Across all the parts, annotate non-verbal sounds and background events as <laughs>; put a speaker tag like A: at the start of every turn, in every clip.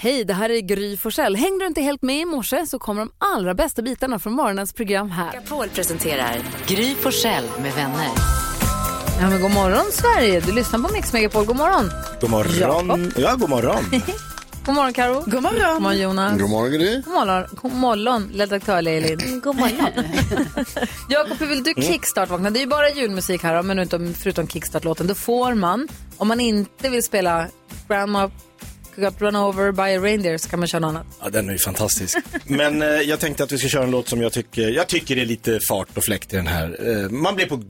A: Hej, det här är Gry Forssell. Hängde du inte helt med i morse så kommer de allra bästa bitarna från morgonens program här.
B: Paul presenterar Gry Forssell med vänner.
A: Ja, men god morgon Sverige, du lyssnar på Mix Megapol. God morgon.
C: God morgon. Ja, god morgon.
A: God morgon Karo. God morgon. God morgon Jonas.
D: God morgon Gry.
A: God morgon, god morgon redaktör Elin. <clears throat> God morgon. <laughs> Jakob, hur vill du kickstart-vakna? Det är ju bara julmusik här, men utom, förutom kickstart-låten. Då får man, om man inte vill spela Grandma Got Run Over By A Reindeer så kan man köra något annat.
C: Ja, den är ju fantastisk. <laughs> Men eh, jag tänkte att vi ska köra en låt som jag tycker, jag tycker är lite fart och fläkt i den här. Eh, man blir på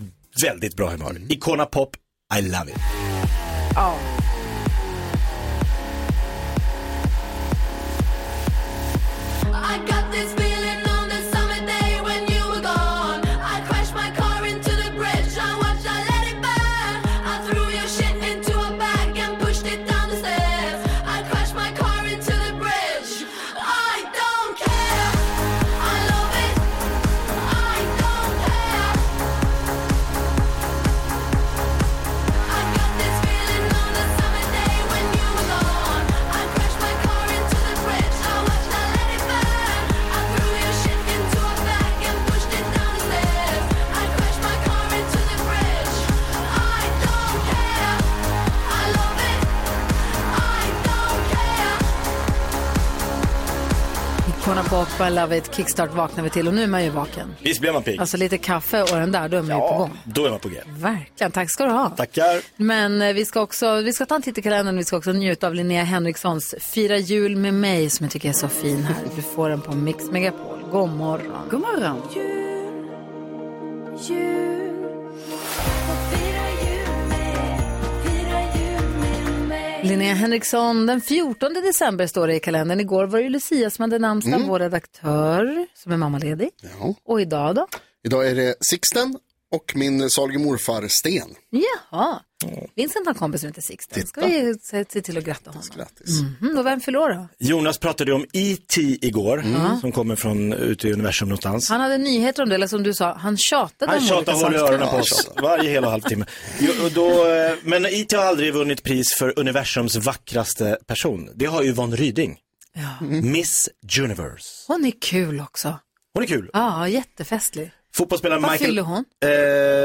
C: väldigt bra
A: Mm.
C: humör. Icona Pop, I love it.
E: I got this feeling on the summer day when you were gone. I crashed my car into the bridge. I watched, I let it burn. I threw your shit into a bag and pushed it down the stairs. I crashed my car into the bridge. I don't care. I love it. I don't care. I got this feeling on the summer day when you were gone. I crashed my car into the bridge. I watched, I let it burn. I threw your shit into a bag and pushed it down the stairs. I crashed my car into the bridge. I don't care. I love it. I don't care.
A: Icona Pop, I Love It, Kickstart vaknar vi till och nu är man ju vaken.
C: Visst blir man pigg?
A: Alltså lite kaffe och den där, då är man ju på gång.
C: Då är man på G.
A: Verkligen, tack ska du ha.
C: Tackar.
A: Men eh, vi ska också, vi ska ta en titt i kalendern, vi ska också njuta av Linnea Henrikssons Fira jul med mig som jag tycker är så fin här. Du får den på Mix Megapol. God morgon.
B: God morgon.
A: Linnea Henriksson, den 14 december står det i kalendern. Igår var det ju Lucia som hade namnsdag, vår redaktör som är mammaledig.
D: Mm. Ja.
A: Och idag då?
D: Idag är det Sixten och min salige morfar Sten.
A: Jaha. Vincent har en kompis som heter Sixten. Ska vi se, se till att gratta honom?
D: Grattis.
A: Mm, och vem förlorar då?
C: Jonas pratade ju om E.T. igår,
A: Mm.
C: som kommer från ute i universum någonstans.
A: Han hade nyheter om det, eller som du sa, han tjatade
C: Han
A: om olika
C: tjatar hål i
A: saker.
C: öronen på oss varje hel och halvtimme. Jo, och då, eh, men IT har aldrig vunnit pris för universums vackraste person. Det har ju Yvonne Ryding.
A: Mm.
C: Miss Universe.
A: Hon är kul också.
C: Hon är kul.
A: Ja, jättefestlig.
C: Fotbollsspelaren
A: Vad
C: Michael...
A: fyller hon?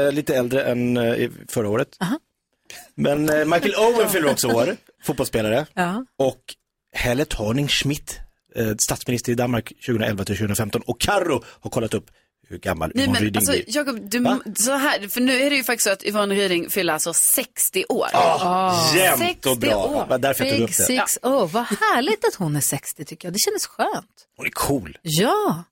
C: Eh, lite äldre än eh, i- förra året. Men eh, Michael Owen fyller också
F: <laughs>
C: år, fotbollsspelare.
A: Ja.
C: Och Helle Thorning-Schmidt, eh, statsminister i Danmark 2011 till 2015. Och Carro har kollat upp hur gammal
F: Nej
C: Yvonne
F: men
C: Ryding
F: alltså
C: blir.
F: Jakob, du,
C: Va?
F: så här, för nu är det ju faktiskt så att Yvonne Ryding fyller alltså 60 år.
C: Ah, Jämnt och
F: 60
C: bra.
F: år.
C: Det var därför jag tog
A: Big
C: upp det.
A: Six oh, Vad härligt att hon är 60 tycker jag. Det kändes skönt.
C: Hon är cool.
A: Ja.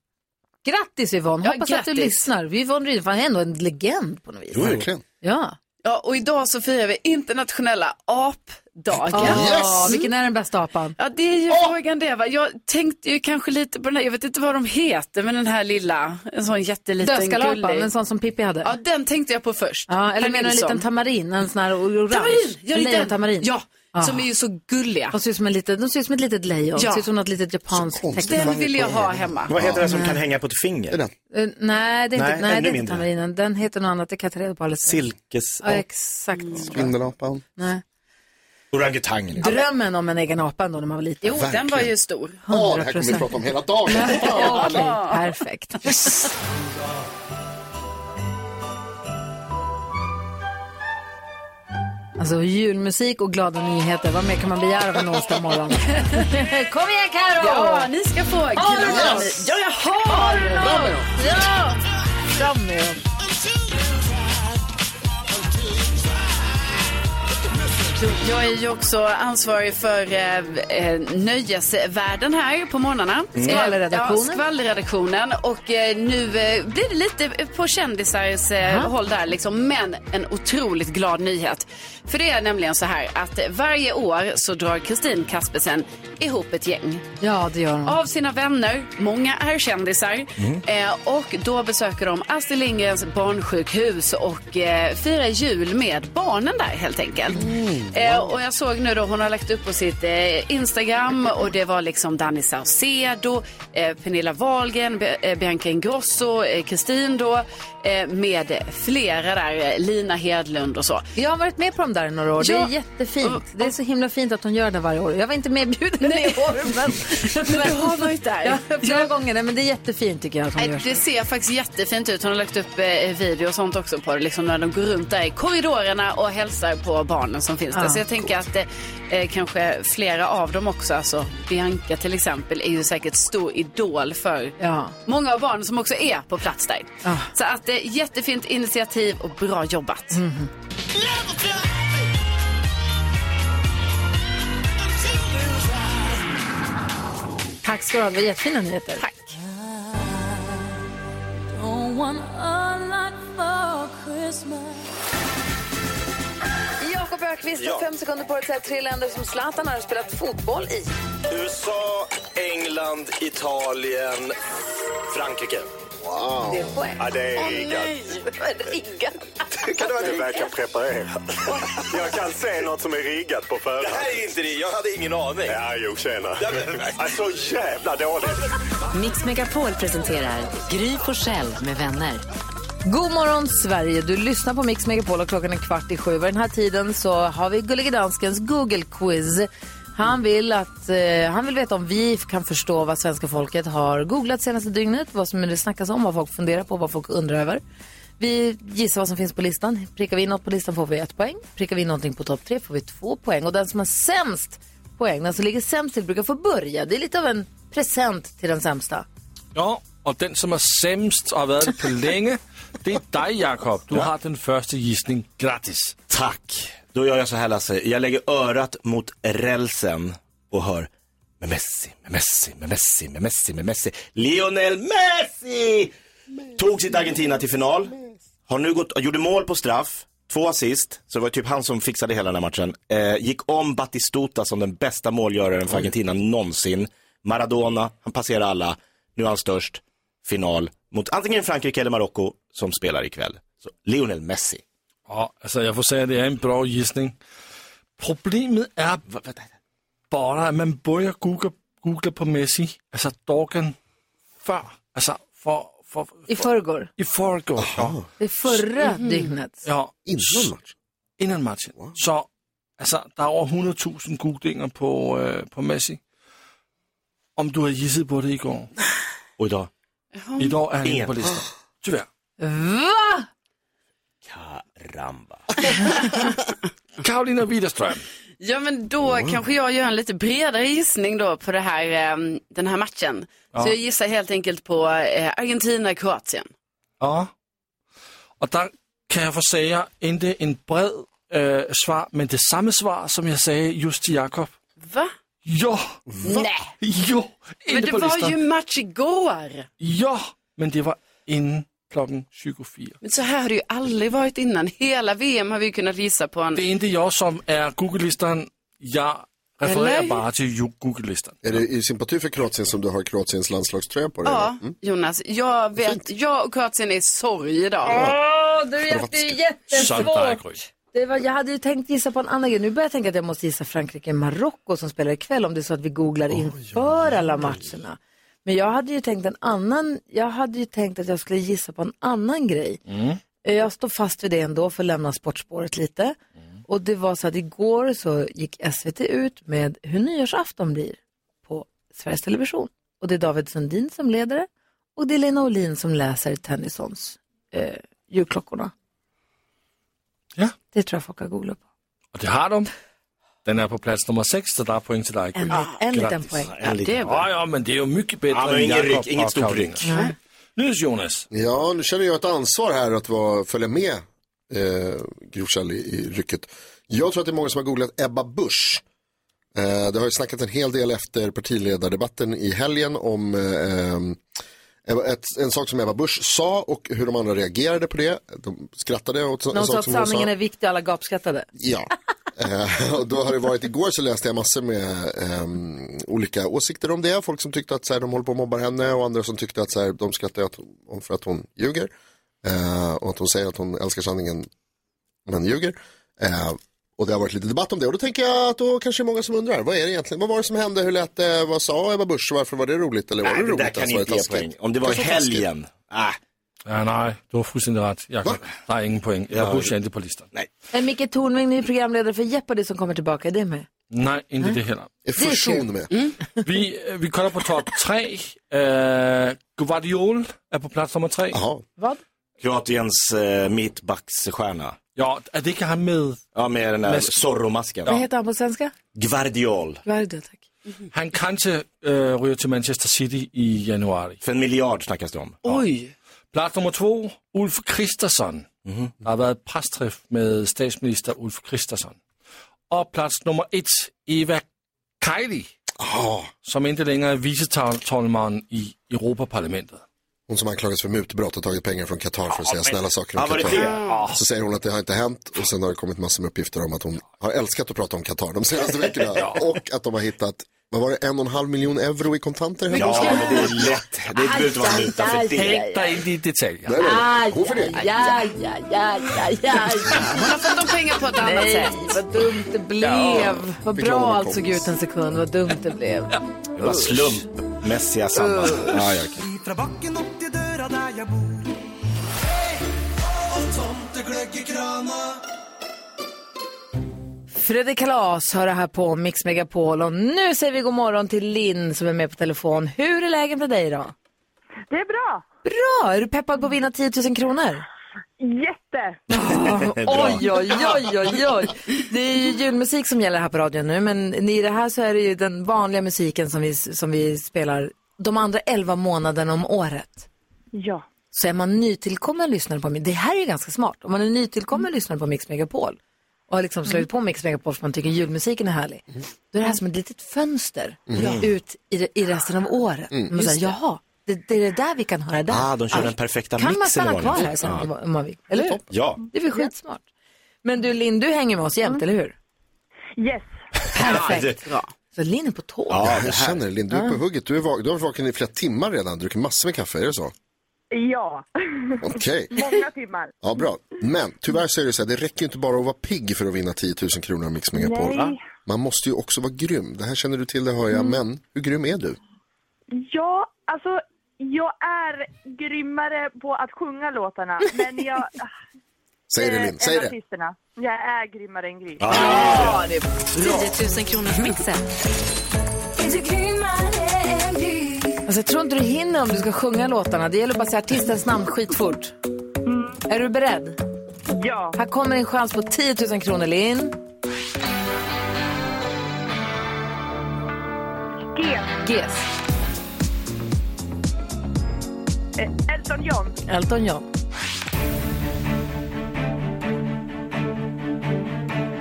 A: Grattis Yvonne.
F: Ja,
A: Hoppas att du
F: grattis.
A: lyssnar. Yvonne Ryding var ändå en legend på något vis.
C: Jo, jo.
F: <laughs>
D: Verkligen.
A: Ja.
F: Ja, och idag så firar vi internationella apdagen.
A: Åh, Vilken är den bästa apan?
F: Ja, det är ju
C: Ah!
F: frågan det va. Jag tänkte ju kanske lite på den här, jag vet inte vad de heter, men den här lilla, en sån jätteliten
A: Dödskallapan,
F: gullig.
A: en sån som Pippi hade.
F: Ja,
A: Ja, liksom.
F: den tänkte jag på först.
A: eller menar du en
F: Nilsson.
A: liten tamarin? En sån här orange?
F: Tamarin! Ja,
A: En
F: det är den.
A: lejontamarin?
F: Ja, som är ju så gulliga.
A: De ser ut som, en litet, de ser ut som ett litet lejon.
F: Ja.
A: Ser ut som något litet japanskt
D: konstigt.
A: tecken.
F: Den vill jag ha hemma. Mm.
C: Vad heter den som kan hänga på ett
D: Det är
C: finger?
D: den.
A: Eh, nej, det är
C: Nej,
A: inte, nej,
C: ännu
A: det är inte
C: mindre.
A: tamarinen. Den heter något annat. Det kan jag ta reda på alldeles strax.
C: Silkes...
A: Ja, exakt.
D: Mm. Vindelapan.
A: Nej.
C: Orangutangen. liksom.
A: Drömmen om en egen apa ändå när man var liten.
F: Jo, den var ju stor.
D: Ja, det här kommer vi
A: 100%.
D: prata om hela dagen.
A: Okej, perfekt. Alltså julmusik och glada nyheter, vad mer kan man begära av en onsdagmorgon? Kom igen Karo!
F: Ja, ni ska få killar.
A: Yes.
F: Ja, jag har något! Ja!
A: Fram med dem.
F: Jag är ju också ansvarig för eh, eh, nöjesvärlden här på morgnarna. Eh,
A: Skvallerredaktionen.
F: Ja, skvallerredaktionen. Och eh, nu eh, blir det lite på kändisars eh, håll där liksom. Men en otroligt glad nyhet. För det är nämligen så här att varje år så drar Kristin Kaspersen ihop ett gäng
A: Ja, det gör hon.
F: av sina vänner, många är kändisar. Eh, och då besöker de Astrid Lindgrens barnsjukhus och eh, firar jul med barnen där helt enkelt. Eh, och jag såg nu då, hon har lagt upp på sitt eh, Instagram och det var liksom Danny Saucedo, eh, Pernilla Wahlgren, Be- eh, Bianca Ingrosso, eh, Kristin då, eh, med flera där, eh, Lina Hedlund och så.
A: Jag har varit med på dem där i några år. Det
F: Ja.
A: är jättefint. Det är så himla fint att de gör det varje år. Jag var inte medbjuden i år, men...
F: Men du har varit där.
A: Ja, flera gånger. Nej, men det är jättefint tycker jag att de gör
F: Nej,
A: så.
F: det ser faktiskt jättefint ut. Hon har lagt upp eh, video och sånt också på det. Liksom när de går runt där i korridorerna och hälsar på barnen som finns där.
A: Ja,
F: så jag tänker att eh, eh, kanske flera av dem också, alltså Bianca till exempel, är ju säkert stor idol för
A: Ja. Ah.
F: många av barnen som också är på plats där.
A: Ja.
F: Så att eh, jättefint initiativ och bra jobbat.
A: Tack ska du ha. Det var jättefina nyheter.
F: Tack.
A: Jakob Ökvist har fem sekunder på dig att säga tre länder som Zlatan har spelat fotboll i.
C: USA, England, Italien, Frankrike.
A: Det är en poäng.
G: Ja, det är riggat.
A: Riggat.
G: Kan du inte verka
A: <laughs>
G: preparerad? Jag kan se något som är riggat på förhand.
C: är inte det. Jag hade ingen aning.
G: Ja, jo, tjena.
C: Ja, men-
G: Ja, Så jävla dåligt.
B: Mix Megapol presenterar Gry Forssell med vänner.
A: God morgon Sverige, du lyssnar på Mix Megapol och klockan är kvart i sju. Vid den här tiden så har vi Gullige Danskens Google Quiz. Han vill, att, eh, han vill veta om vi kan förstå vad svenska folket har googlat senaste dygnet, vad som det snackas om, vad folk funderar på, vad folk undrar över. Vi gissar vad som finns på listan. Prickar vi in något på listan får vi ett poäng. Prickar vi in någonting på topp tre får vi två poäng. Och den som har sämst poäng, den som ligger sämst till brukar få börja. Det är lite av en present till den sämsta.
H: Ja, og den, som er sämst og har været det på længe, det er dig, Jakob. Du har den første gissning gratis.
C: Tack. Då gör jag så här Lasse. Jag lägger örat mot rälsen och hör med Messi, med Messi, med Messi, med Messi, med Messi. Lionel Messi! Tog sitt Argentina till final. Har nu gått, gjorde mål på straff. Två assist, så det var typ han som fixade hela den här matchen. Eh, gick om Batistuta som den bästa målgöraren för Argentina någonsin. Maradona, han passerar alla. Nu är han störst. Final mot antingen Frankrike eller Marocko som spelar ikväll. Så Lionel Messi.
H: Og altså, jeg får sige, at det er en bra gissning. Problemet er bare, at man burde google, google på Messi, altså Dorgan, før, altså for, for,
A: I förrgår,
H: i forgår, ja, Mm.
A: det är förra dygnet.
H: ja,
D: Innan matchen?
H: inden matchen. Så altså, der er over 100.000 googlinger på, øh, på Messi. Om du har gisset på det i går.
C: Och idag?
H: I dag er han
C: Ingen.
H: ikke på listen. Tyvärr.
A: Va?
C: Karamba.
H: Karolina Widerström.
F: Ja, men då kanske jag gör en lite bredare gissning då på det här, eh, den här matchen. Så jag gissar helt enkelt på eh, Argentina-Kroatien.
H: Ja. Og der kan jeg for sager endte en bred øh, svar, men det samme svar, som jeg sagde just til Jakob.
F: Va?
H: Jo,
F: Nej.
H: jo,
F: Men
H: inde
F: det
H: på
F: var
H: listan.
F: ju match igår.
H: Jo, men det var inden klokken 24.
F: Men så här har det ju aldrig varit innan. Hela VM har vi ju kunnat gissa på en...
H: Det endte jeg, som er Google-listen. Jeg refererer
F: Eller?
H: bare til ju- Google-listen.
D: Är det i sympati för Kroatien som du har Kroatiens landslagströja på dig?
F: Ja,
C: Mm.
F: Jonas. Jag vet, jag och Kroatien är i sorg idag.
A: Åh, det är jätte-
H: Sådan der, Gry.
A: jättesvårt. Det var, jag hade ju tänkt gissa på en annan grej. Nu börjar jag tänka att jag måste gissa Frankrike-Marocko som spelar ikväll om det är så att vi googlar inför alla matcherna. Men jag hade ju tänkt en annan, jag hade ju tänkt att jag skulle gissa på en annan grej.
G: Mm.
A: Eh, Jag står fast vid det ändå för att lämna sportspåret lite. Och det var så att igår så gick SVT ut med hur nyårsafton blir på Sveriges Television. Och det är David Sundin som leder det och det är Lena Olin som läser Tennysons
F: Øh.
A: eh, julklockorna.
H: Ja.
A: Det tror jag folk har googlat på.
H: Og det har du. Den er på plads nummer 6, så der er point til dig, Gry.
A: En, en liten poäng.
F: Ja, det är bra.
H: Åh, ja, men det er jo mycket bedre
C: Ja, men
H: end
C: ingen
H: Jakob
C: ryck, inget
H: og
C: stort
H: Karolina.
C: ryck.
H: Nydes, Jonas.
D: Ja, nu känner jag ett ansvar här att vara, följa med eh, Grosjall i, i rycket. Jag tror att det är många som har googlat Ebba Busch. Eh, det har ju snackats en hel del efter partiledardebatten i helgen om eh, ehm, Ebba- ett, en sak som Ebba Busch sa och hur de andra reagerade på det. De skrattade åt en
A: Någon sa
D: sak
A: att
D: som hon sa.
A: sanningen är viktig och alla gapskattade.
D: Ja. Eh, och då har det varit igår så läste jag massor med ehm, olika åsikter om det. Folk som tyckte att så här, de håller på och mobbar henne och andra som tyckte att så här, de skrattar åt hon för att hon ljuger. Eh, och att hon säger att hon älskar sanningen men ljuger. Eh, Och det har varit lite debatt om det och då tänker jag att då kanske det är många som undrar, vad är det egentligen, vad var det som hände, hur lät det, vad sa Ebba Busch, varför var det roligt eller var
C: Nej,
D: det
C: det
D: roligt?
C: där kan
D: alltså, var
C: inte
D: det
C: ge
D: taskigt?
C: poäng. Om det var i
D: Kanske taskigt.
C: helgen. Ah,
H: Ja, nej, du har fuldstændig ret. Jeg
D: Hvad?
H: der er ingen point. Jeg har ja. på listan.
C: nej.
A: Men Eh, Micke Tornving, ny programledare för Jeopardy som kommer tillbaka, är det med?
H: Nej, ikke det heller.
D: Är fusion med.
H: <laughs> Vi, øh, vi kolder på top 3. Øh, Guardiol er på plads nummer 3.
D: Jaha,
C: Kroatiens eh, mittbacksstjärna.
H: Ja, er det ikke ham med?
C: Ja, med den där
H: Mäsk-
C: Zorro-masken.
A: Vad heter han på svenska?
C: Guardiol.
A: Vardio, tack.
H: Han kanskje øh, ryger til Manchester City i januar.
C: För en miljard snackas det om.
F: Oj.
H: Plads nummer to, Ulf Kristersson.
C: Mhm.
H: Der har været et prestræf med statsminister Ulf Kristersson. Og plads nummer et, Eva Kaili,
D: Jaha.
H: som ikke længere er vicetalmand i Europaparlamentet.
D: hon som anklagas för mutbrott och tagit pengar från Qatar för att säga snälla saker
C: Ja,
D: om
C: var det
D: Qatar.
C: det?
D: Så säger hon att det har inte hänt och sen har det kommit massor med uppgifter om att hon har älskat att prata om Qatar de senaste veckorna och att de har hittat, vad var det, en och en halv miljon euro i kontanter? hemma?
C: Ja, men det är lätt. Det behöver inte vara en muta för det.
H: Ikke der ikke i detaljer.
D: Nej, nej, hon förnekar.
A: Ja, ja, ja, ja, ja,
F: Hon har fått de pengar på ett annat
A: Nej,
F: sätt.
A: vad dumt det blev. Vad
D: Fick låna
A: bra allt
D: kompis.
A: såg ut en sekund, vad dumt det blev.
C: Det var slumpmässiga samband. Ja, ja, okej.
A: Fredrik Kalas hör det här på Mix Megapol och nu säger vi god morgon till Linn som är med på telefon. Hur är läget med dig idag?
I: Det är bra.
A: Bra! Är du peppad på att vinna 10 000 kronor?
D: <laughs>
I: Jätte.
A: Oj, oj, oj, oj, oj. Det är ju julmusik som gäller här på radion nu, men i det här så är det ju den vanliga musiken som vi, som vi spelar de andra 11 månaderna om året.
I: Ja.
A: Så är man nytillkommen lyssnare på Det här är ju ganska smart. Om man är nytillkommen
C: Mm.
A: lyssnare på Mix Megapol och har liksom slagit på Mix Megapol för man tycker julmusiken är härlig.
C: Mm.
A: Då är det här som ett litet fönster ut i, det- i resten av året. Man säger, jaha, det, det är det där vi kan höra där.
C: Mm. Ah, de kör den perfekta
A: Kan man
C: mixen i
A: stanna kvar
C: morgon.
A: här sen om- om man vill? Eller hur?
C: Ja.
A: Det är väl skitsmart. Men du Linn, du hänger med oss jämt, eller hur?
I: Yes.
A: Perfekt. Så Linn är på tå.
C: Ja, det
D: Jag
C: här.
D: känner det, Linn, du är på hugget. Du, är vak- du har varit vaken i flera timmar redan, druckit massor med kaffe, är det så?
I: Ja.
D: Okej,
I: Många timmar.
D: ja bra. Men tyvärr så är det så här, det räcker ju inte bara att vara pigg för att vinna 10 000 kronor av Mix Megapol.
I: Nej.
D: Man måste ju också vara grym. Det här känner du till, det hör jag, men hur grym är du?
I: Ja, alltså jag är grymmare på att sjunga låtarna, men
D: <laughs>
I: jag...
D: Säg
J: Eh,
D: det Linn, säg
I: än
D: det.
I: artisterna. Jag är grymmare än
B: 10
I: Gry.
B: 000 kronors mixen.
A: Alltså, jag tror inte du hinner om du ska sjunga låtarna. Det gäller bara att säga artistens namn skitfort. Är du beredd?
I: Mm. Ja.
A: Här kommer en chans på 10 000 kronor, Linn.
I: G.
A: GES.
I: Eh, Elton John.
A: Elton John.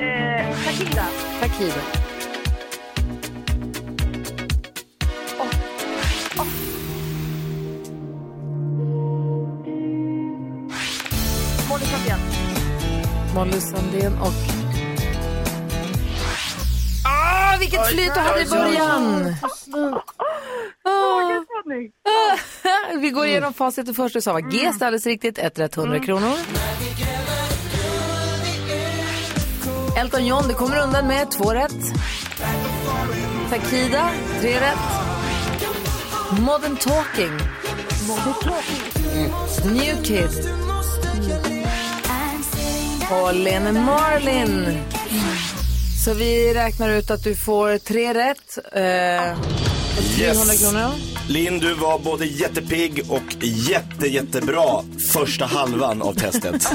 I: Eh, Shakira.
A: Shakira.
I: Monica Sandén.
A: Molly Sandén och... Ah, vilket flyt du hade i början! Ah.
I: Tony.
A: Vi går igenom facit. Det första du sa var G, så alldeles riktigt. Ett rätt, 100 kronor. Elton John, det kommer undan med. Två rätt. Takida, tre rätt. Modern Talking. New Kid.
G: Mm.
A: Och Lene Marlin. Så vi räknar ut att du får tre rätt. Eh, och 300
C: Yes.
A: kronor.
C: Linn, du var både jättepigg och jätte, jättebra första halvan
A: <laughs>
C: av testet.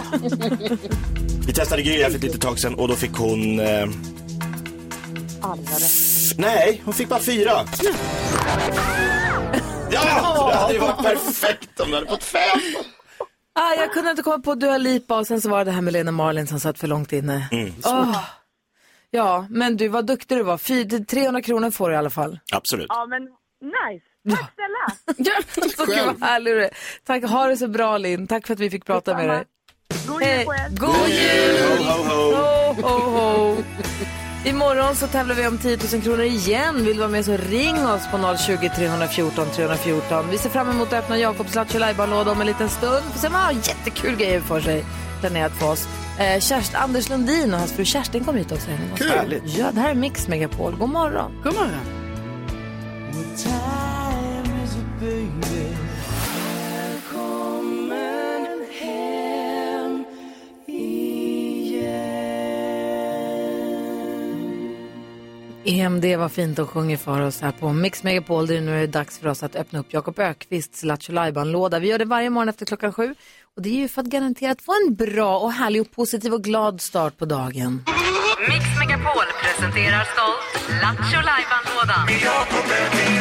C: Vi testade Gry här för ett litet tag sedan och då fick hon... Eh... Nej, hon fick bara fyra. Ja, det hade ju varit perfekt om du hade fått fem.
A: Ah, jag kunde inte komma på Dua Lipa och sen så var det det här med Lena Marlin som satt för långt inne. Åh. Ja, men du, vad duktig du var. Fy, 300 kronor får du i alla fall. <laughs>
C: Absolut.
I: Ja, men nice. Tack snälla.
A: Så gud vad härlig du är. Tack, ha det så bra Linn. Tack för att vi fick prata med dig.
I: God jul på er.
A: Eh, God jul!
C: Ho, ho, ho.
A: Ho, ho, ho. <laughs> Imorgon så tävlar vi om 10 000 kronor igen. Vill du vara med så ring oss på 020 314 314. Vi ser fram emot att öppna Jakobs Lattjo Lajban-låda om en liten stund. Får se om han har jättekul grejer för sig. planerat för oss. Eh, Kerst, Anders Lundin och hans fru Kerstin kommer hit också. Henne.
D: Kul.
C: Härligt.
A: Ja, det här är Mix Megapol. God morgon.
F: God morgon.
A: EMD var fint och sjunger för oss här på Mix Megapol. Det är nu dags för oss att öppna upp Jakob Ökvists Lattjo låda Vi gör det varje morgon efter klockan sju. Och det är ju för att garantera att få en bra och härlig och positiv och glad start på dagen.
K: Mix Megapol presenterar stolt Lattjo Lajban-lådan.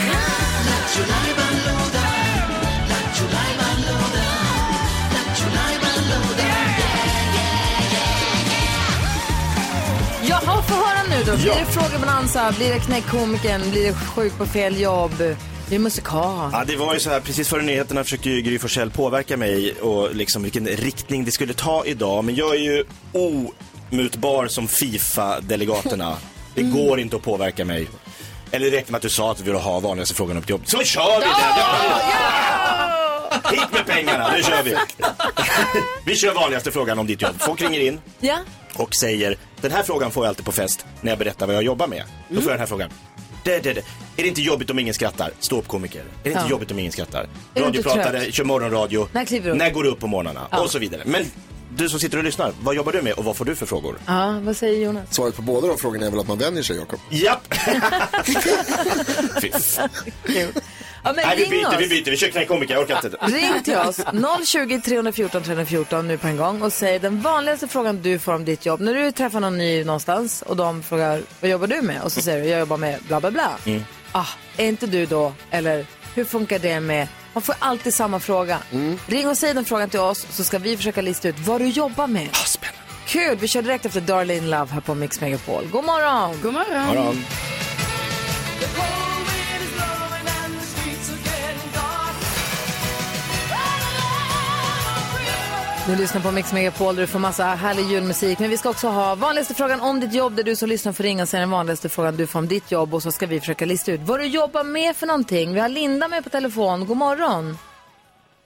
A: Jaha, få höra nu då. Blir det frågebalansa? Blir det knäckkomikern? Blir det sjuk på fel jobb? Blir det musikal?
C: Ja, det var ju så här, precis före nyheterna försökte ju Gry Forssell påverka mig och liksom vilken riktning det skulle ta idag. Men jag är ju omutbar som Fifa-delegaterna. Det går inte att påverka mig. Eller det räcker med att du sa att du ville ha vanligaste frågan upp till jobbet. Så kör vi den! Hit med pengarna, nu kör vi! vi kör vanligaste frågan om ditt jobb. Folk ringer in
A: Ja,
C: och säger den här frågan får jag alltid på fest när jag berättar vad jag jobbar med. Då får jag den här frågan. Det, det, det. Är det inte jobbigt om ingen skrattar? Ståuppkomiker. Är det inte
A: Ja.
C: jobbigt om ingen skrattar?
A: du inte
C: Radiopratare,
A: trött?
C: kör morgonradio.
A: När kliver du upp?
C: När går du upp på morgnarna? Och så vidare. Men du som sitter och lyssnar, vad jobbar du med och vad får du för frågor?
A: ja vad säger Jonas?
D: Svaret på båda de frågorna är väl att man vänjer sig, Jakob. <laughs>
C: Japp! Fy fan.
A: Ja, men
C: Nej, vi
A: ring
C: byter,
A: oss.
C: vi byter. Vi kör knäckkomiker, jag orkar inte.
A: Ring till
C: <laughs>
A: oss, 020 314 314 nu på en gång och säg den vanligaste frågan du får om ditt jobb. När du träffar någon ny någonstans och de frågar vad jobbar du med? Och så säger du jag jobbar med bla bla bla. Ah, är inte du då? Eller hur funkar det med? Man får alltid samma fråga. Ring och säg den frågan till oss så ska vi försöka lista ut vad du jobbar med. Kul! Vi kör direkt efter Darlene Love här på Mix Megapol. God morgon!
F: God morgon.
C: Morgon.
A: Du lyssnar på Mix Megapol där du får massa härlig julmusik. Men vi ska också ha vanligaste frågan om ditt jobb där du som lyssnar får ringa och säga den vanligaste frågan du får om ditt jobb och så ska vi försöka lista ut vad du jobbar med för någonting. Vi har Linda med på telefon. God morgon!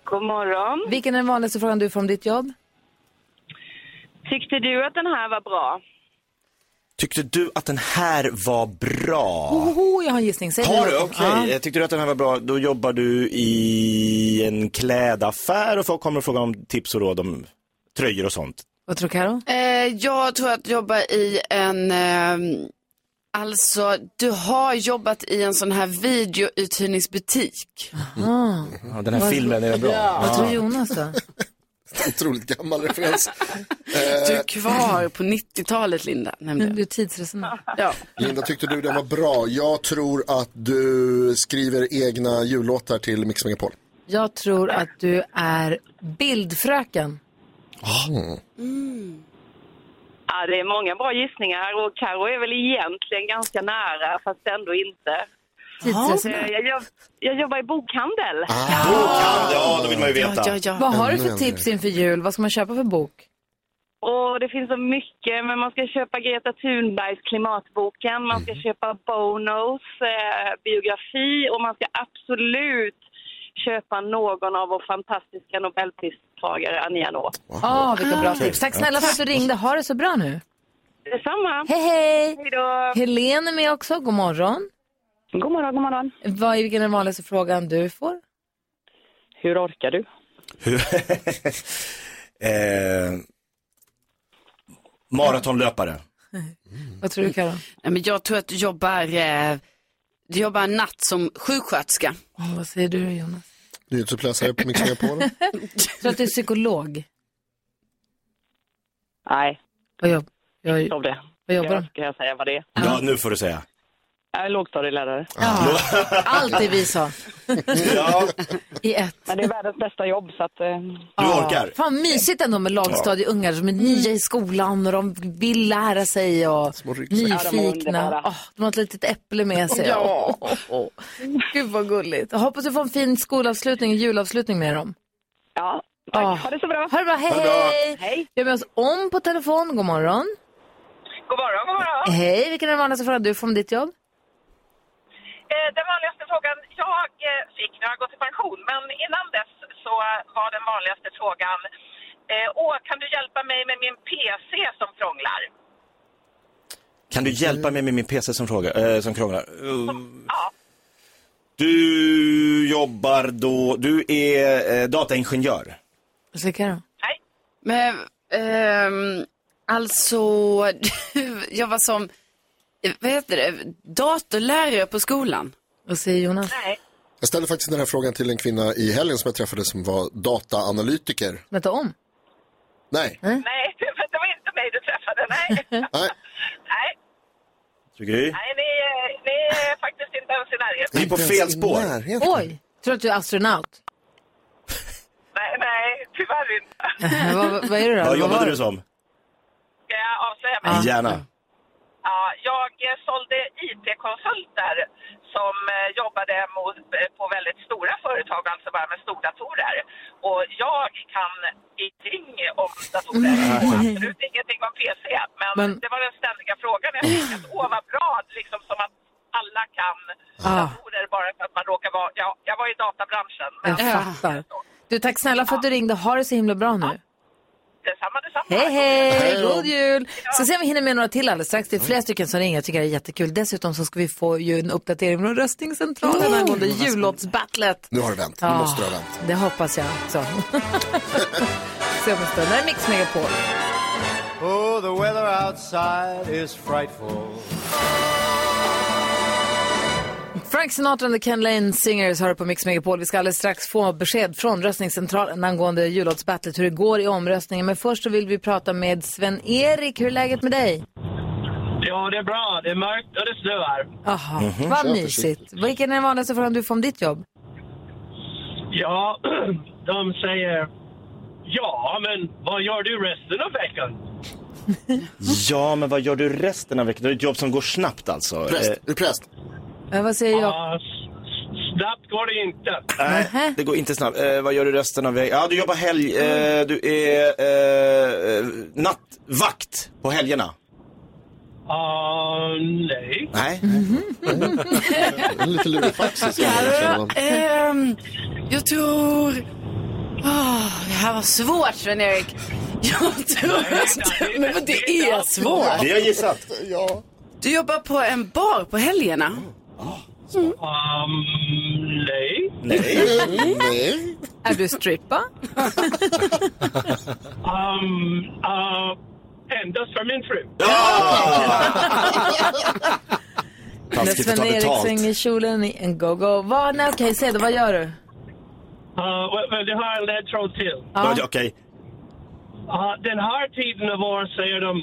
I: God morgon.
A: Vilken är den vanligaste frågan du får om ditt jobb?
I: Tyckte du att den här var bra?
C: Tyckte du att den här var bra?
A: Oho, jag har en gissning. Säg
C: Har
A: det.
C: du? Okej. Jag Tyckte du att den här var bra? Då jobbar du i en klädaffär och folk kommer och frågar om tips och råd om tröjor och sånt.
A: Vad tror Karo?
F: Eh, jag tror att jobba i en... Eh, alltså, du har jobbat i en sån här videouthyrningsbutik.
A: Ah,
C: Ja, Mm. den här filmen är bra.
A: Vad tror Jonas då?
D: Otroligt gammal referens.
F: Du är kvar på 90-talet, Linda. Nämnde. jag.
A: Du är tidsresenär.
F: Ja.
D: Linda, tyckte du den var bra? Jag tror att du skriver egna jullåtar till Mix Megapol.
A: Jag tror att du är bildfröken.
C: Ah.
A: Mm.
I: Ja, det är många bra gissningar och Karo är väl egentligen ganska nära fast ändå inte.
A: Tidsresenär.
I: Eh, Jag, jobb, jag jobbar i bokhandel.
A: Ah.
C: Ja, ja, då vill man ju
F: Ja,
C: veta.
F: ja, ja.
A: Vad har du
D: Ännu
A: för
D: en
A: tips inför jul? Vad ska man köpa för bok?
I: Och det finns så mycket, men man ska köpa Greta Thunbergs klimatboken, man ska köpa Bonos eh, biografi och man ska absolut köpa någon av vår fantastiska nobelpristagare Annie Ernaux.
A: Ah, vilka bra tips. Tack snälla för att du ringde. Ha det så bra nu.
I: Detsamma!
A: Hej, hej!
I: Hej då!
A: Helene är med också. God morgon.
I: God morgon, god morgon.
A: Vad är vilken är den vanligaste frågan du får?
I: Hur orkar du?
C: Hur- eh, maratonlöpare.
A: Vad tror du, Karin?
F: Nej, men jag tror att du jobbar, eh, du jobbar natt som sjuksköterska.
A: vad säger du, Jonas?
D: Nyhetsuppläsare på Mix Megapol.
A: Jag <laughs> tror att du är psykolog.
I: Nej,
A: Vad, jobb, jag,
I: av det.
A: vad jobbar du
I: ska jag säga vad det är.
C: Ja, nu får du säga.
I: Jag är lågstadielärare.
A: Allt
D: <laughs>
A: det vi sa
C: Ja,
A: i ett.
I: Men det är världens bästa jobb, så att... eh,
C: du orkar.
A: Fan mysigt ändå med lagstadieungar som är nya i skolan och de vill lära sig och nyfikna.
I: underbara.
A: Åh, de har ett litet äpple
F: <laughs>
A: med sig. Ja. Gud vad gulligt. Jag hoppas du får en fin skolavslutning och julavslutning med dem.
I: Ja,
A: tack. Ah. Ha
I: det så bra.
A: Ha det bra, hej hej!
I: Hej.
A: Vi har med oss om på telefon, god morgon.
I: God morgon, god morgon.
A: Hej, vilken är den vanligaste frågan du får om ditt jobb?
I: Eh, Den vanligaste frågan jag eh, fick när jag gått i pension, men innan dess så eh, var den vanligaste frågan Eh, Åh, kan du hjälpa mig med min PC som krånglar?
C: Kan du hjälpa mig med min PC som, frågar, eh, som krånglar? Eh, Du jobbar då, du är eh, dataingenjör.
A: Ulrika då?
F: Men, ehm, alltså, <laughs> jag var som, eh, vad heter det, datorlärare på skolan.
A: Vad säger Jonas?
D: Jag ställde faktiskt den här frågan till en kvinna i helgen som jag träffade som var dataanalytiker.
A: Vänta om.
D: Nej,
I: Nej, <laughs> det var inte mig du träffade. Nej, <laughs>
D: nej.
I: nej,
C: Tycker
I: nej ni, eh, ni är faktiskt inte ens i närheten.
C: Vi är på
D: Inte ens
C: fel spår.
D: i närheten.
A: Oj, tror att du är astronaut?
I: Nej, nej, tyvärr inte.
A: Eh, <laughs> vad, vad är du då?
C: Vad
A: var
C: jobbade
A: det?
C: du som?
I: Ska jag avslöja mig?
C: Gärna.
I: Ja, jag eh, sålde IT-konsulter som eh, jobbade mot, eh, på väldigt stora företag, alltså bara med stordatorer. Och jag kan ingenting om datorer
D: Mm.
I: och absolut ingenting om PC. Men,
A: Men-
I: det var den ständiga frågan. Jag tänkte att åh vad bra, liksom som att alla kan datorer bara för att man råkar vara... Ja, jag var i databranschen. Men
A: Jag fattar. Du, tack snälla för att du ringde. Ha det så himla bra nu.
I: detsamma, detsamma.
A: Hej, hej!
D: Hej då.
A: God jul! Ska se om vi hinner med några till alldeles strax. Det är flera stycken som ringer. Jag tycker det är jättekul. Dessutom så ska vi få ju en uppdatering från röstningscentralen angående jullåtsbattlet.
D: Oh! Nu har det vänt. Nu måste det ha vänt.
A: Det hoppas jag också. <laughs> Se om en stund. Det här är Mix Megapol.
L: Oh, the weather outside is frightful.
A: Frank Sinatra and the Ken Lane Singers hör på Mix Megapol. Vi ska alldeles strax få besked från röstningscentralen angående jullåtsbattlet, hur det går i omröstningen. Men först så vill vi prata med Sven-Erik. Hur är läget med dig?
I: Ja, det är bra. Det är mörkt och det snöar.
A: Jaha,
C: Mhm,
A: vad mysigt. Vilken är den vanligaste frågan du får om ditt jobb?
I: Ja, <clears throat> de säger... Ja, men vad gör du resten av veckan?
C: Ja, men vad gör du resten av veckan? Det är ett jobb som går snabbt alltså.
D: Präst,
C: Eh,
D: du är präst.
A: Eh, vad säger jag?
I: Ja, s- snabbt går det inte.
A: Nähä.
C: Nej, det går inte snabbt. Eh, vad gör du resten av veckan? Ja, du jobbar helg.
A: Mm.
C: Eh, du är eh, nattvakt på helgerna.
I: Ja, nej.
C: Nej.
D: En lite lurifaxig. som jag känner honom.
F: Ehm, jag tror... Ah, det här var svårt, Sven-Erik. Jag tror... Men det är svårt.
C: Vi har gissat.
D: Ja.
F: Du jobbar på en bar på helgerna.
I: Um, nej.
C: Nej.
D: Nej.
A: Är du
C: <laughs>
A: strippa?
I: Um, uh, endast för min fru.
C: Taskigt att ta
A: Sven-Erik
C: betalt.
A: svänger kjolen i en go-go. Vad, nej okej, säg då, vad gör du?
I: Uh, well, det har en ledtråd till.
C: Ja, Okej.
I: Ja, den här tiden av år säger de...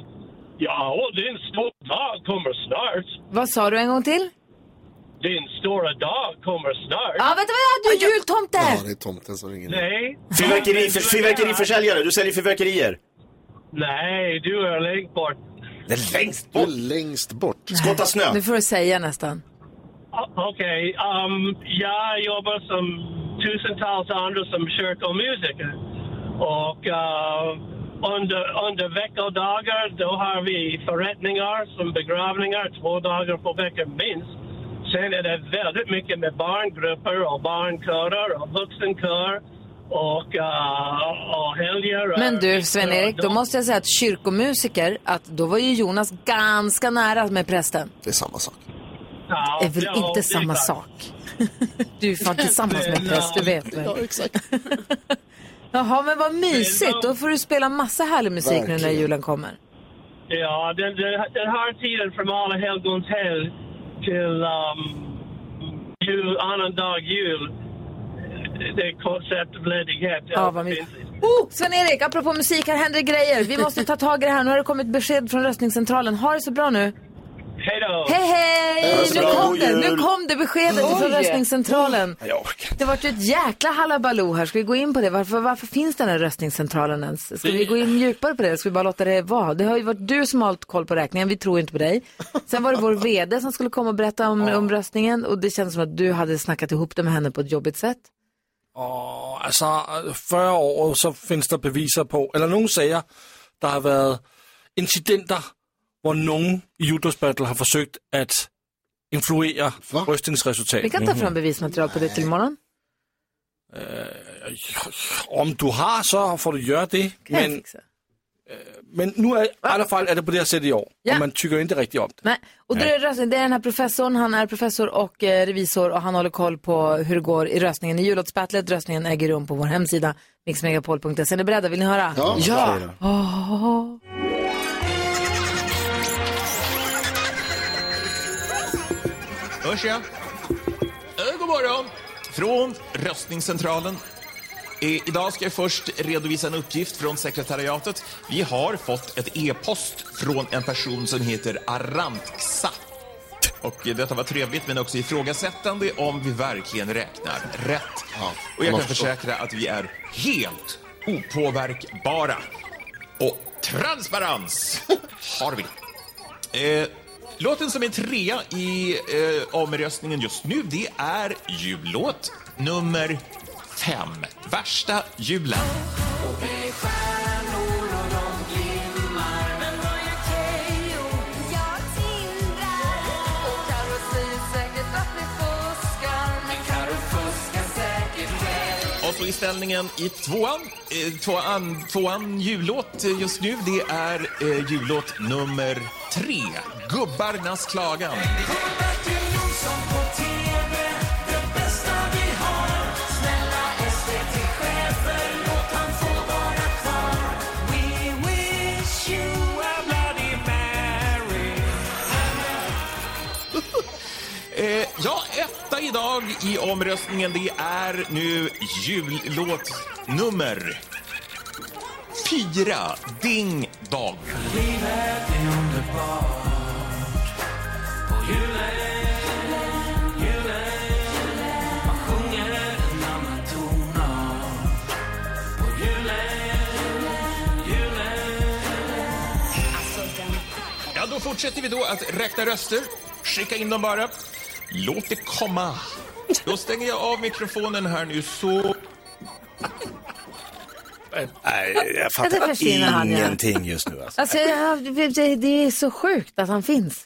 I: Ja, din stora dag kommer snart.
A: Vad sa du en gång till?
I: Din stora dag kommer snart.
A: Ja, vänta, vänta, du är
D: Ja,
A: jultomte!
D: det är tomten som ringer. nu.
I: Nej.
C: Fyrverkeri, för, fyrverkeriförsäljare, du säljer fyrverkerier.
I: Nej, du är längst bort.
C: Det är längst
D: Du är
C: bort.
D: längst bort.
C: Skotta snö.
A: Nu får du säga nästan.
I: O- Okej, Uh, um, jag jobbar som tusentals andra som kyrkomusiker. Och uh, under, under veckodagar då har vi förrättningar som begravningar två dagar på veckan minst. Sen är det väldigt mycket med barngrupper och barnkörer och vuxenkör och, uh, och helger.
A: Men du, Sven-Erik, då måste jag säga att kyrkomusiker, att då var ju Jonas ganska nära med prästen.
D: Det är samma sak.
I: Ja,
A: Det är väl
I: ja, det
A: inte samma
I: sant.
A: sak? Du är fan tillsammans med en präst, du vet väl? <laughs> Jaha, men vad mysigt. Då får du spela massa härlig musik nu när
D: Verkligen.
A: julen kommer.
I: Ja, den, den, den här tiden från Alla helgons helg till um, jul, annandag jul, det är konceptet ledighet.
A: Ja, vad mysigt. Oh, Sven-Erik, apropå musik, här händer grejer. Vi måste ta tag i det här. Nu har det kommit besked från röstningscentralen. Ha det så bra nu.
I: Hej då!
A: Hej, hej!
C: så
A: Nu
C: bra.
A: kom
C: God
A: det, nu
C: jul.
A: kom det beskedet från röstningscentralen.
C: Jag orkar
A: Det
C: inte.
A: vart ju ett jäkla halabaloo här. Ska vi gå in på det? Varför, varför finns den här röstningscentralen ens? Ska vi gå in djupare på det? Eller Ska vi bara låta det vara? Det har ju varit du som har hållit koll på räkningen. Vi tror inte på dig. Sen var det vår vd som skulle komma och berätta om, om röstningen. Och det känns som att du hade snackat ihop det med henne på ett jobbigt sätt.
H: Og altså, før år, så findes der beviser på, eller nogle sager, der har været incidenter, hvor nogen i Judas Battle har forsøgt at influere
D: Hva?
H: røstningsresultatet.
C: Mm-hmm.
A: Vi kan ta fram bevismaterial på det till imorgon.
H: Øh, Om du har, så får du göra det.
A: Kan jag
H: Men, øh,
A: fixa.
H: men nu är, i alla fall är det på det här sättet i år.
A: Ja.
H: Och man tycker inte riktigt om det.
A: Nej. Och det
H: Nej.
A: är, röstning. det är den här professorn, han är professor och eh, revisor och han håller koll på hur det går i röstningen i jullåtsbattlet. Röstningen äger rum på vår hemsida mixmegapol.se. Är ni beredda? Vill ni höra?
E: Ja. Ja.
A: Åh.
M: Hörs jag? Eh, God morgon! Från röstningscentralen. Eh, Idag ska jag först redovisa en uppgift från sekretariatet. Vi har fått ett e-post från en person som heter Arantxa. Och eh, detta var trevligt men också ifrågasättande om vi verkligen räknar rätt. Och jag
N: man
M: kan
N: förstår.
M: försäkra att vi är helt opåverkbara. Och transparens har vi. Eh, låten som är trea i eh, omröstningen just nu, det är jullåt nummer fem. Värsta julen. Och så i ställningen i tvåan, eh, tvåan, tvåan jullåt eh, just nu, det är eh, jullåt nummer tre. Gubbarnas klagan. Eh, ja, etta idag i omröstningen, det är nu jullåt nummer fyra, Ding Dong. Ja, då fortsätter vi då att räkna röster. Skicka in dem bara. Låt det komma. Då stänger jag av mikrofonen här nu så...
C: Nej, jag
A: Ja, det
C: fattar
A: försvinner han, ja.
C: ingenting just nu. Alltså.
A: Alltså, jag, det, det är så sjukt att han finns.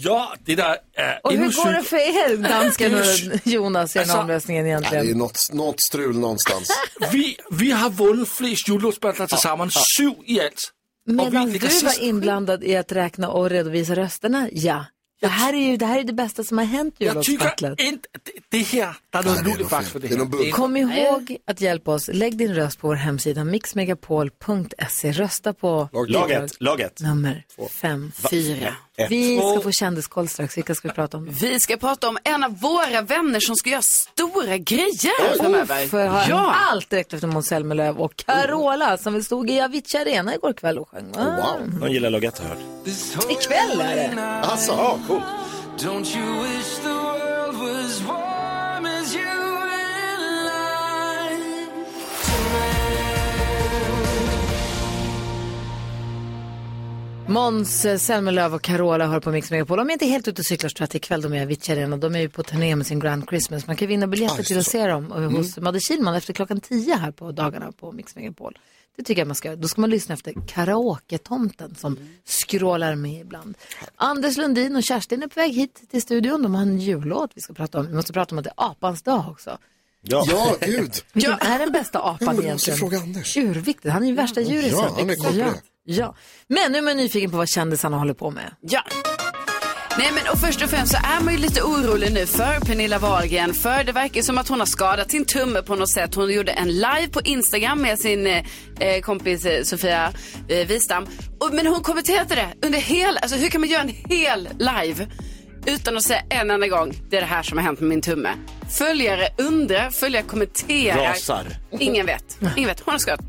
H: Ja, det där är
A: Och hur
H: ännu
A: går det
H: sykt.
A: för er, dansken
H: Inu-
A: och Jonas, i den
H: Alltså-
A: här omröstningen
D: Ja, det är
A: egentligen?
D: något, något
A: <laughs>
D: strul någonstans.
H: Vi, vi har vunnit flest jullåtsbattlar tillsammans, sju i allt.
A: Medan
H: ligger
A: du
H: sist.
A: var inblandad i att räkna och redovisa rösterna, ja. Det här är ju det, här är det bästa som har hänt i
H: Jag
A: jullåtsbattlet.
H: tycker inte det, det här, det är något lurigt faktiskt för det här.
A: Kom ihåg att hjälpa oss. Lägg din röst på vår hemsida mixmegapol.se. Rösta på
C: Laget, laget.
A: nummer fem.
C: Va?
A: fyra.
C: Ett.
A: Vi ska få kändiskoll strax. Vilka ska vi prata om?
F: Vi ska prata om en av våra vänner som ska göra stora grejer framöver.
A: För jag har allt direkt efter Måns Zelmerlöw och Carola som vi stod i Avicii Arena igår kväll och sjöng.
C: Oh, wow. De gillar Lagette har jag hört.
A: Ikväll är det.
D: Alltså,
C: ja, cool.
E: Don't you wish the world was warm as you and
A: Måns eh, Zelmerlöw och Carola hör på Mix Megapol. Om jag inte är helt ute och cyklar så tror jag att det är ikväll de är i Avicii Arena. De är ju på turné med sin Grand Christmas. Man kan vinna biljetter till att se dem
D: Mm.
A: eh, hos Madde Kihlman efter klockan 10 här på dagarna på Mix Megapol. Det tycker jag man ska göra. Då ska man lyssna efter karaoke-tomten som skrålar med ibland. Anders Lundin och Kerstin är på väg hit till studion. De har en jullåt vi ska prata om. Vi måste prata om att det är apans dag också.
D: Ja, gud.
A: Vilken är den bästa apan
D: Ja, men jag måste
A: egentligen?
D: fråga Anders.
A: Tjurviktigt, han är ju värsta djurisen.
D: Ja, han är koll på
A: ja.
D: det.
A: ja. Men nu är man nyfiken på vad kändisarna håller på med.
F: Ja. Nej men och först och främst så är man ju lite orolig nu för Pernilla Wahlgren för det verkar som att hon har skadat sin tumme på något sätt. Hon gjorde en live på Instagram med sin eh, kompis eh, Sofia eh, Wistam. Och, men hon kommenterade det under hela, alltså hur kan man göra en hel live utan att säga en enda gång det är det här som har hänt med min tumme. Följare undrar, följare kommenterar.
C: Rasar.
F: Ingen vet. Ingen vet. Hon har skadat.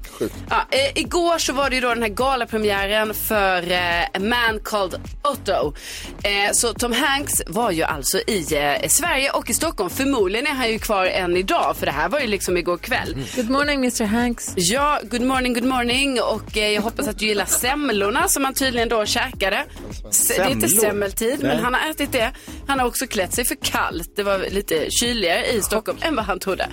F: Ja, eh, igår så var det ju då den här galapremiären för eh, A Man Called Otto. Eh, så Tom Hanks var ju alltså i eh, Sverige och i Stockholm. Förmodligen är han ju kvar än idag för det här var ju liksom igår kväll.
A: Good morning Mr Hanks.
F: Ja, good morning, good morning. Och eh, jag hoppas att du gillar semlorna som han tydligen då käkade. Se, det är inte
A: Semlor?
F: semmeltid, men
A: Nej.
F: han har ätit det. Han har också klätt sig för kallt. Det var lite kyligare i Stockholm än vad han trodde.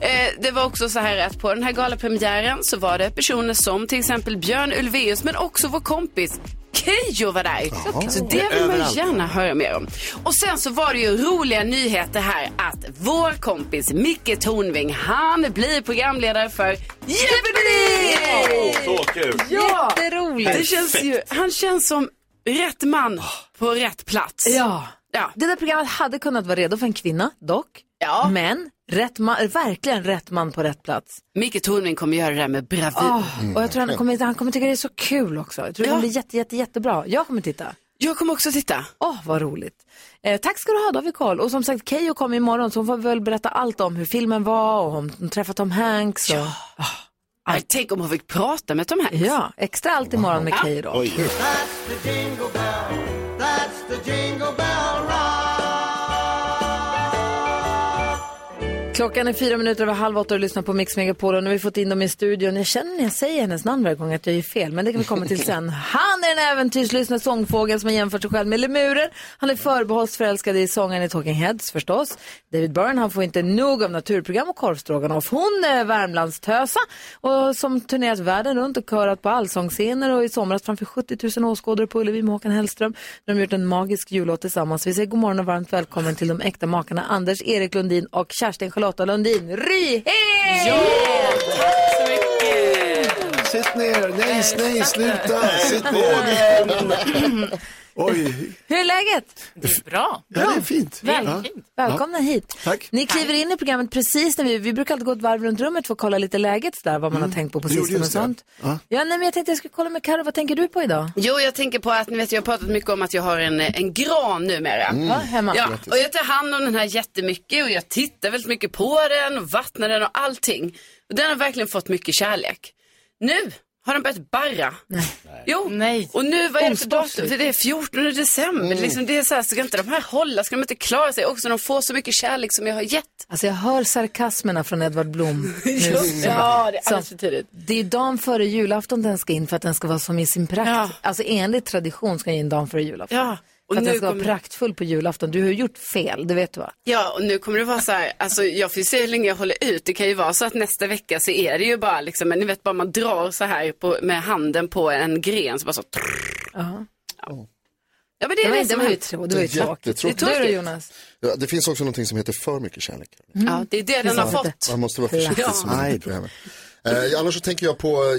F: Eh, det var också så här att på den här galapremiären så var det personer som till exempel Björn Ulvaeus, men också vår kompis Keyyo var där.
E: Jaha.
F: Så det vill man
E: Överallt.
F: ju gärna höra mer om. Och sen så var det ju roliga nyheter här att vår kompis Micke Tornving, han blir programledare för Jeopardy!
C: Så kul!
F: Ja!
A: Jätteroligt.
F: Det känns ju, han känns som rätt man på rätt plats.
A: Ja.
F: ja.
A: Det där programmet hade kunnat vara redo för en kvinna dock.
F: Ja.
A: Men rätt man, verkligen rätt man på rätt plats.
F: Micke Tornving kommer göra det här med bravur.
D: Mm,
A: Åh, Oh. och jag tror han kommer, han kommer tycka det är så kul också. Jag tror det
F: Ja.
A: kommer bli jätte, jätte, jättebra. Jag kommer titta.
F: Jag kommer också titta.
A: Åh, vad roligt. Eh, tack ska du ha, då har vi koll. Och som sagt, Keyyo kommer imorgon så hon får väl berätta allt om hur filmen var och om hon träffade Tom Hanks. Och...
F: Ja, tänk om hon fick prata med Tom Hanks.
A: Ja, extra allt imorgon med Keyyo då.
E: That's the jingle bell. That's the jingle bell
A: Klockan är fyra minuter över halv åtta och lyssnar på Mix Megapol och nu har vi fått in dem i studion. Jag känner när jag säger hennes namn varje gång att jag gör fel, men det kan vi komma till sen. Han är en äventyrslyssnad sångfågel som har jämfört sig själv med lemurer. Han är förbehållsförälskad i sångaren i Talking Heads förstås. David Byrne, han får inte nog av naturprogram och korvstroganoff. Hon är Värmlandstösa och som turnerat världen runt och körat på allsångsscener och i somras framför 70 000 åskådare på Ullevi med Håkan Hellström. De har gjort en magisk jullåt tillsammans. Vi säger god morgon och varmt välkommen till de äkta makarna Anders Erik Lundin och Kerstin Charlotta Lundin. Ryhed!
N: Sitt ner, nej, nej, sluta, sitt ner. Oj,
A: Hur är läget?
N: Det
A: är bra.
N: Ja, det är fint. Väldigt fint.
A: Välkomna hit.
N: Tack.
A: Ni kliver in i programmet precis när vi, vi brukar alltid gå ett varv runt rummet för att kolla lite läget där, vad man har tänkt på på
N: Du gjorde
A: sistone och
N: Mm. just det.
A: sånt. Ja. nej, men jag tänkte jag skulle kolla med Karo, vad tänker du på idag?
F: Jo, jag tänker på att ni vet, jag har pratat mycket om att jag har en, en gran numera.
A: Mm. Ja, hemma.
F: Ja,
A: Grattis.
F: och jag tar hand om den här jättemycket och jag tittar väldigt mycket på den och vattnar den och allting. Och den har verkligen fått mycket kärlek. Nu har den börjat barra. Nej. Jo, Nej. och nu vad är det för datum? För det är 14 december.
A: Mm.
F: Liksom, det är så här, ska inte de här hålla? Ska de inte klara sig? Också de får så mycket kärlek som jag har gett.
A: Alltså jag hör sarkasmerna från Edvard
F: <laughs>
A: Blom. nu.
F: Ja, det är alldeles
A: Så
F: för tidigt.
A: Det är dagen före julafton den ska in för att den ska vara som i sin prakt. Alltså enligt tradition ska den in dagen före julafton.
F: Ja, och
A: för att
F: nu
A: den ska
F: kommer-
A: vara praktfull på julafton. Du har ju gjort fel, det vet du va?
F: Ja, och nu kommer det vara så här, alltså jag får ju se hur länge jag håller ut. Det kan ju vara så att nästa vecka så är det ju bara liksom, men ni vet bara man drar så här på, med handen på en gren så bara så.
A: Ja.
F: Ja, men det är
A: var-
F: det,
A: det
F: som
A: var ju
F: hänt.
A: trå- det var ju tråkigt.
D: Jättetråkigt.
A: Du då Jonas?
D: Ja, det finns också någonting som heter för mycket kärlek.
F: Ja, det är det den har fått.
D: Man måste vara försiktig.
F: Ja.
D: så man inte tror jag med. Eh, annars så tänker jag på eh,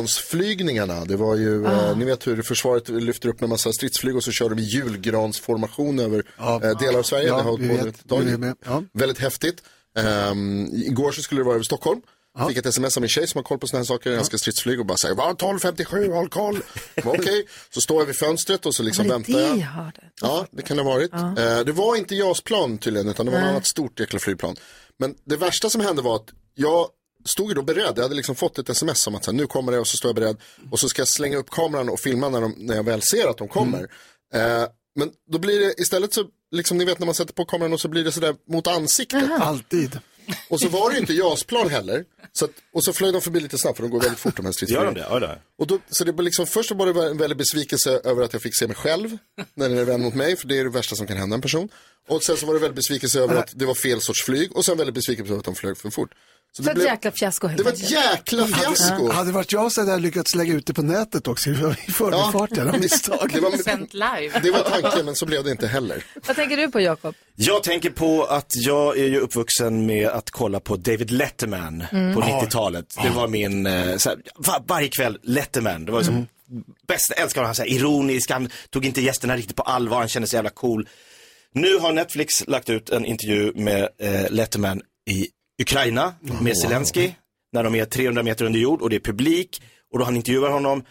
D: julgransflygningarna. Det var ju,
A: Ah.
D: eh, ni vet hur försvaret lyfter upp med massa stridsflyg och så kör de i julgransformation över eh, delar av Sverige.
N: Ja,
D: det har
N: vi
D: hållit
N: vet.
D: på under ett tag.
N: Vi är med.
D: Väldigt häftigt. Ehm, igår så skulle det vara över Stockholm. Fick ett sms av min tjej som har koll på sådana här saker, älskar stridsflyg och bara säger "Va, 12.57, håll koll. Jag bara, Okej, så står jag vid fönstret och så liksom
A: Var det
D: väntar
A: det
D: jag.
A: jag hörde?
D: Ja, det kan det ha varit. Eh, Det var inte JAS-plan tydligen, utan det var något
A: Nej.
D: annat stort jäkla flygplan. Men det värsta som hände var att jag stod ju då beredd. Jag hade liksom fått ett sms om att så här, nu kommer det och så står jag beredd. Och så ska jag slänga upp kameran och filma när, de, när jag väl ser att de kommer.
A: Mm.
D: Eh, men då blir det istället så, liksom ni vet när man sätter på kameran och så blir det sådär mot ansiktet.
N: Alltid.
D: Och så var det ju inte JAS-plan heller. Så att, och så flög de förbi lite snabbt för de går väldigt fort de här stridsflygen.
C: Gör de det? Ja, det.
D: Och då, så det var liksom, först var det en väldig besvikelse över att jag fick se mig själv när den är vän mot mig, för det är det värsta som kan hända en person. Och sen så var det väldigt besvikelse över att det var fel sorts flyg och sen väldigt besvikelse över att de flög för fort.
A: Så
D: Så det
A: ett
D: blev,
A: jäkla fiasko helt
D: det var
A: enkelt.
D: ett jäkla fiasko.
N: Hade, hade varit jag så hade jag lyckats lägga ut det på nätet också i förbifarten av misstag.
D: Det var-
A: Sänt live.
D: Det var tanken men så blev det inte heller.
A: Vad tänker du på Jakob?
C: Jag tänker på att jag är ju uppvuxen med att kolla på David Letterman
A: Mm. Ah.
C: på
A: Ja.
C: 90-talet. Det var min, eh, såhär, va- varje kväll, Letterman. Det var liksom
A: Mm.
C: bästa, jag älskar honom, han var såhär ironisk, han tog inte gästerna riktigt på allvar, han kände sig jävla cool. Nu har Netflix lagt ut en intervju med eh, Letterman i Ukraina, med Zelensky när de är 300 meter under jord och det är publik och då han intervjuar honom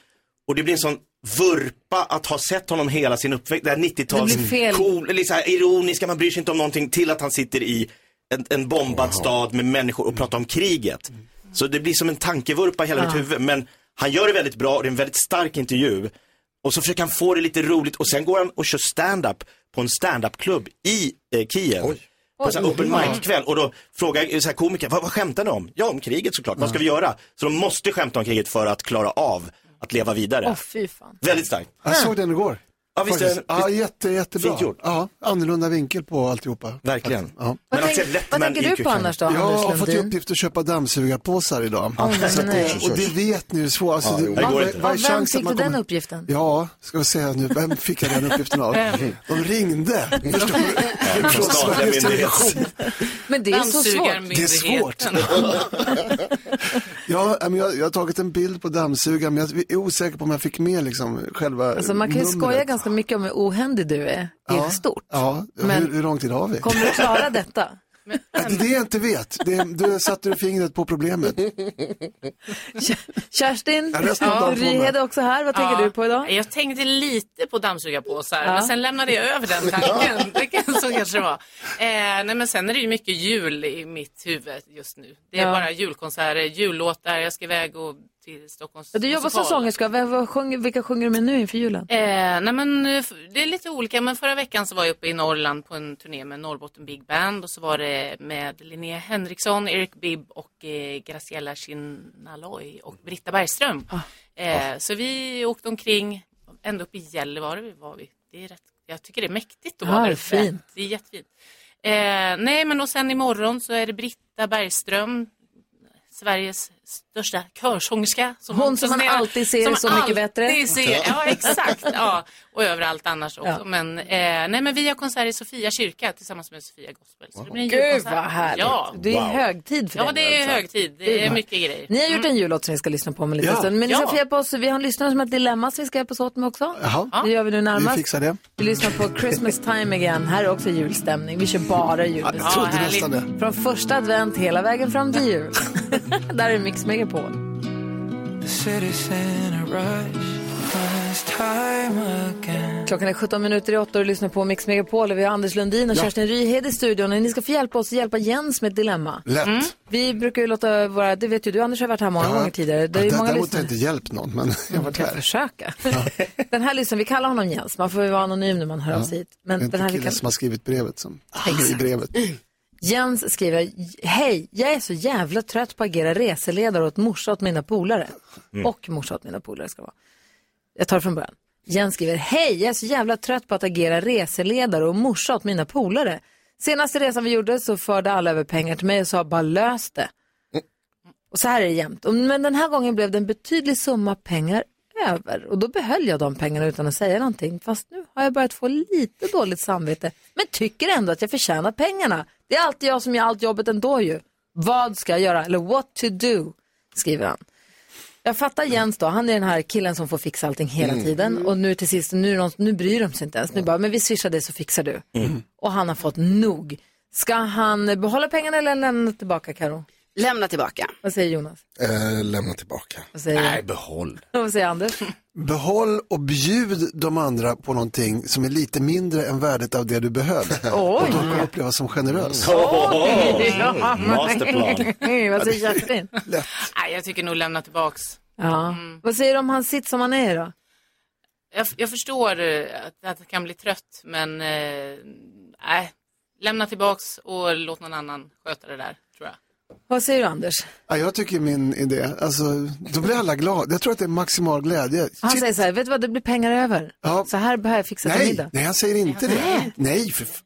C: och det blir en sån vurpa att ha sett honom hela sin uppväxt, det här
A: Det blir fel.
C: 90-tals cool, eller så här ironiska, man bryr sig inte om någonting till att han sitter i en, en bombad stad med människor och pratar om kriget. Så det blir som en tankevurpa i hela
A: Ja.
C: mitt huvud men han gör det väldigt bra och det är en väldigt stark intervju. Och så försöker han få det lite roligt och sen går han och kör stand-up på en stand-up-klubb i eh, Kiev. På en sån här open
M: Oj.
C: mic-kväll och då frågar eh, så här komiker, vad, vad skämtar ni om? Ja, om kriget såklart, vad ska vi göra? Så de måste skämta om kriget för att klara av att leva vidare.
A: Åh fy fan.
C: Väldigt starkt.
N: Jag såg den igår.
C: Ja, visst är det-
N: Faktiskt. ja,
C: visst-
N: jätte, jättebra.
C: Fint gjort.
N: Ja, annorlunda vinkel på alltihopa.
C: Verkligen.
N: Ja.
A: Vad tänk- vad tänker du på annars då,
N: Jag
A: Anders
N: har fått i
A: Lundin?
N: uppgift att köpa dammsugarpåsar idag.
A: Åh,
N: Så att-
A: nej.
N: och det vet ni hur svårt. Alltså,
A: Ja,
N: det-
A: jo.
N: vad-
A: Av-
N: vad är
A: av vem
N: chansen att
A: fick
N: man
A: du den
N: kommer-
A: uppgiften? <laughs>
N: Ja, ska vi säga nu, vem fick jag den uppgiften av?
A: Vem?
N: De ringde. Förstår du?
C: från
N: Från
C: statliga
N: Sveriges
C: myndigheter.
N: Television.
A: Men det är så svårt.
N: Det är svårt. ja, men jag, jag har tagit en bild på dammsugaren, men jag är osäker på om jag fick med liksom, själva
A: Alltså man kan ju
N: numret.
A: skoja ganska mycket om hur ohändig du är.
N: Ja,
A: I stort.
N: Ja,
A: Men-
N: hur, hur lång tid har vi?
A: Kommer du klara detta?
N: Det är det jag inte vet. Det, du satte du fingret på problemet.
A: Kerstin,
N: Ja, resten av dagen får man.
A: Ryhed är också här. Vad tänker
O: Ja,
A: du på idag?
O: Jag tänkte lite på dammsugarpåsar,
A: Ja.
O: men sen lämnade jag över den tanken. <laughs> Det kan- så kanske det var. Eh, nej, men sen är det ju mycket jul i mitt huvud just nu. Det är
A: Ja.
O: bara julkonserter, jullåtar, jag ska iväg och till Stockholms
A: Ja, Du jobbar som
O: musikal.
A: sångerska. Vem- vad sjunger- Vilka sjunger du med nu inför julen?
O: Eh, nej men, eh, f- det är lite olika, men förra veckan så var jag uppe i Norrland på en turné med Norrbotten Big Band och så var det med Linnea Henriksson, Eric Bibb och eh, Graciela Chinaloy och Britta Bergström. Eh, så vi åkte omkring, ända upp i Gällivare var vi. Det är rätt, jag tycker det är mäktigt att
A: Ja,
O: vara
A: det är
O: där uppe.
A: fint.
O: Det är jättefint. Eh, nej men och sen imorgon så är det Britta Bergström, Sveriges största körsångerska.
A: Hon som man
O: turnerar-
A: alltid ser Så mycket bättre.
O: alltid Ser, ja, exakt. Ja, och överallt annars också.
A: Ja.
O: Men, eh, nej, men vi har konsert i Sofia kyrka tillsammans med Sofia Gospel. Så det blir en
A: Gud
O: julkonsert.
A: vad härligt.
O: Ja.
A: Det är högtid för
O: Ja,
A: dig nu
O: det är
A: alltså.
O: högtid.
A: Gud,
O: Det är
A: vad-
O: mycket grejer.
A: Ni har gjort en jullåt som ni ska lyssna på om en liten
N: Ja.
A: stund. Men ni
O: Ja.
A: ska få hjälpa oss. Vi har en lyssnare som har ett dilemma som vi ska hjälpas åt med också.
N: Jaha.
A: Det gör vi nu
N: Vi
A: närmast.
N: fixar det.
A: Vi lyssnar på Christmas time again. Här är också julstämning. Vi kör bara julmusik.
N: jag trodde Ja, härligt. nästan
A: Från första advent hela vägen fram till
N: <laughs>
A: jul. Där är Mix Megapol. Klockan är 17 minuter i 8 och du lyssnar på Mix Megapol. Och vi har Anders Lundin och
N: Ja.
A: Kerstin Ryhed i studion. Och ni ska få hjälpa oss att hjälpa Jens med ett dilemma. Mm.
N: Lätt.
A: Vi brukar ju låta våra, det vet ju du Anders har varit här många
N: Ja.
A: gånger tidigare. Det är
N: Ja,
A: ju många
N: däremot har
A: lyssnare.
N: jag inte hjälpt någon, men jag var
A: kan försöka. Den här lyssnaren, vi kallar honom Jens, man får ju vara anonym när man hör av sig hit.
N: Men
A: Men
N: inte
A: den här vi
N: killen
A: kallar-
N: som har skrivit brevet som hänger i brevet.
A: Jens skriver, hej, jag är så jävla trött på att agera reseledare åt morsa åt mina polare.
E: Mm.
A: Och morsa åt mina polare ska det vara. Jag tar det från början. Jens skriver, hej, jag är så jävla trött på att agera reseledare och morsa åt mina polare. Senaste resan vi gjorde så förde alla över pengar till mig och sa bara lös det. Och så här är det jämt. Och- Men den här gången blev det en betydlig summa pengar över. Och då behöll jag de pengarna utan att säga någonting. Fast nu har jag börjat få lite dåligt samvete. Men tycker ändå att jag förtjänar pengarna. Det är alltid jag som gör allt jobbet ändå ju. Vad ska jag göra? Eller what to do? Skriver han. Jag fattar Jens då, han är den här killen som får fixa allting hela
E: Mm.
A: tiden. Och nu till sist, nu, är de- nu bryr de sig inte ens. Nu bara, men vi swishar dig så fixar du. Och han har fått nog. Ska han behålla pengarna eller lämna tillbaka Karo?
F: Lämna tillbaka.
A: Vad säger Jonas?
D: Eh, lämna tillbaka.
A: Vad säger jag? Nej,
C: behåll.
A: <laughs> Vad säger
C: <laughs>
A: Anders?
C: Oh,
A: <laughs>
N: Behåll och bjud de andra på någonting som är lite mindre än värdet av det du behöll. Och då kommer du upplevas som generös.
A: <laughs> Vad säger Kerstin?
O: Nej, jag tycker nog lämna tillbaks.
A: Ja. Vad säger du om hans sitt som han är då?
O: Jag, jag förstår eh, att, att jag kan bli trött, men eh, nej. Lämna tillbaks och låt någon annan sköta det där,
A: <laughs>
O: tror jag.
A: Vad säger du Anders?
N: Ja, jag tycker min idé, alltså, då blir alla glada. Jag tror att det är maximal glädje.
A: Han säger så här, vet du vad, det blir pengar över. Så här behöver jag fixa till
N: Nej,
A: middag.
N: nej, han säger inte det. Nej, för, f-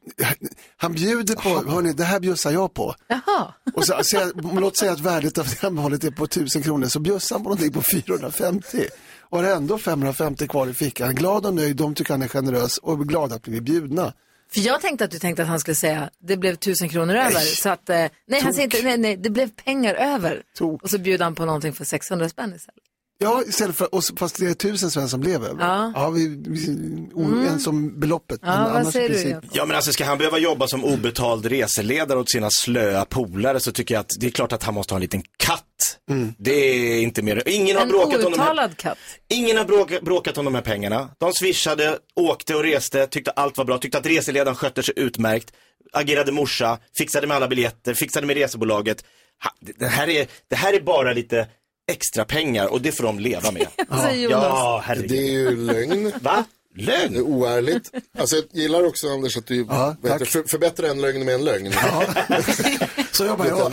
N: han bjuder på, hörni, det här bjussar jag på.
A: Jaha.
N: Och så, så, jag- låt säga att värdet av det här målet är på 1000 kronor, så bjussar han på någonting på 450. Och har ändå 550 kvar i fickan. Glad och nöjd, de tycker han är generös och är glad att bli bjudna.
A: För jag tänkte att du tänkte att han skulle säga, det blev tusen kronor över. Så att, eh, nej, han säger inte, nej, nej, det blev pengar över. Och så bjuder han på någonting för 600 spänn istället.
N: Ja, istället för, och, så- fast det är 1000 svenskar som blev över.
A: Ja.
N: vi, vi
F: Mm.
N: oense om beloppet. men annars i princip-
C: Ja men alltså ska han behöva jobba som obetald reseledare åt sina slöa polare så tycker jag att det är klart att han måste ha en liten katt. Det är inte mer. Ingen har
A: Mm. en
C: bråkat om de här
A: outtalad katt.
C: Ingen har bråka, bråkat om de här pengarna. De swishade, åkte och reste, tyckte allt var bra, tyckte att reseledaren skötte sig utmärkt, agerade morsa, fixade med alla biljetter, fixade med resebolaget. Ha, det- det, här är, det här är bara lite extra pengar och det får de leva med.
A: Säger Jonas.
C: ja, herregud.
D: Det är ju lögn.
C: Va?
D: Lögn? Det är oärligt. Alltså jag gillar också Anders att du vad heter det, för, förbättrar en lögn med en lögn.
N: <laughs> så jobbar jag.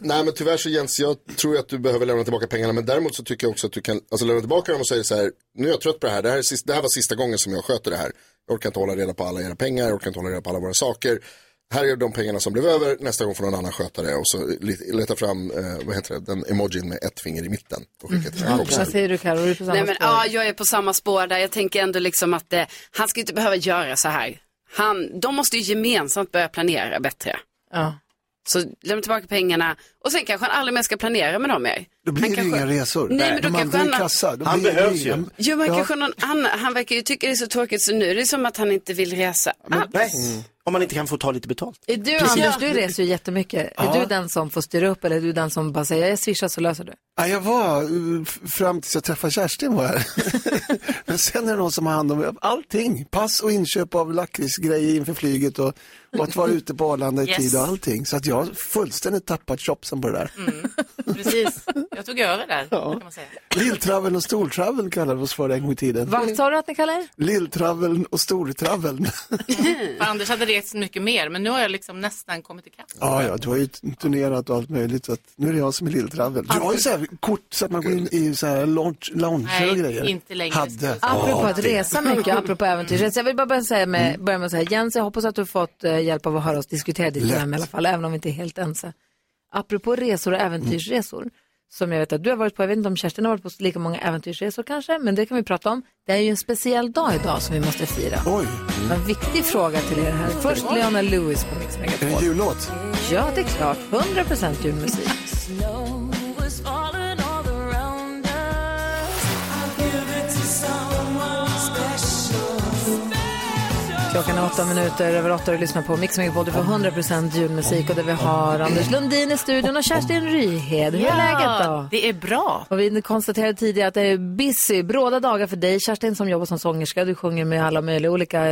D: Nej men tyvärr så Jens, jag tror att du behöver lämna tillbaka pengarna. Men däremot så tycker jag också att du kan alltså, lämna tillbaka dem och säga så här. Nu är jag trött på det här. Det här, är sist, det här var sista gången som jag sköter det här. Jag orkar inte hålla reda på alla era pengar. Jag orkar inte hålla reda på alla våra saker. Här är de pengarna som blev över. Nästa gång får någon annan sköta det. Och så li- leta fram, eh, vad heter det, den emojin med ett finger i mitten. Och skicka till dina kompisar.
A: Mm. Vad säger du Carro? Är du på samma
F: Nej, men,
A: spår?
F: ja, jag är på samma spår där. Jag tänker ändå liksom att eh, han ska inte behöva göra så här. Han, de måste ju gemensamt börja planera bättre.
A: Ja.
F: Så lämna tillbaka pengarna och sen kanske han aldrig mer ska planera med dem mer.
N: Då blir det inga resor.
F: Nej, men
N: De
F: då
N: andra
F: kanske
N: är
F: han-
N: kassa. Då
F: Han
N: blir det
F: behövs
N: inga-
F: ju. Jo, men
N: Ja.
F: kanske någon annan, han verkar ju tycka det är så tråkigt så nu är det som att han inte vill resa
N: Mm.
F: alls.
C: Om man inte kan få ta lite betalt.
A: Är du
C: Precis.
A: Anders, du reser ju jättemycket. Är
N: Ja.
A: du den som får styra upp eller är du den som bara säger jag swishar så löser du?
N: Ja, jag var, eh, f- fram tills jag träffade Kerstin var jag. <laughs> Men sen är det någon som har hand om allting. Pass och inköp av lakritsgrejer inför flyget och, och
A: <laughs>
N: att vara ute på Arlanda i
O: Yes.
N: tid och allting. Så att jag har fullständigt tappat chopsen på det där.
A: Mm.
O: Precis, jag tog över där kan man säga.
N: Lilltraveln och stortraveln kallade vi oss för en gång i tiden.
A: Vad sa du att ni kallar er?
N: Lilltraveln och stortraveln.
O: För Anders hade rest mycket mer, men nu har jag liksom nästan kommit ikapp.
N: <laughs> Ja, ja, du har ju turnerat och allt möjligt. Så att nu är det jag som är lilltravel. Du har ju så här kort så att man går in i så här lounge, lounge och
O: Nej,
N: grejer.
O: inte längre.
N: Hade.
A: Apropå
N: Ja,
A: att
N: det-
A: resa mycket, apropå äventyrsresa. Jag vill bara börja, säga med, börja med att säga, Jens, jag hoppas att du har fått eh, hjälp av att höra oss diskutera ditt
P: Lätt.
A: hem i alla fall, även om vi inte är helt ense. Apropå resor och äventyrsresor, som jag vet att du har varit på, jag vet inte om Kerstin har varit på lika många äventyrsresor kanske, men det kan vi prata om. Det är ju en speciell dag idag som vi måste fira.
N: Oj.
A: En viktig fråga till er här. Först Leona Lewis på Mix
N: Är det en
A: Megapol.
N: jullåt?
A: Ja, det är klart. 100% julmusik. Klockan är åtta minuter över åtta och du lyssnar på Mix Megapol. Du får 100% julmusik och där vi har Anders Lundin i studion och Kerstin Ryhed. Hur är
O: Ja,
A: läget då?
O: Det är bra.
A: Och vi konstaterade tidigare att det är busy, bråda dagar för dig Kerstin som jobbar som sångerska. Du sjunger med alla möjliga olika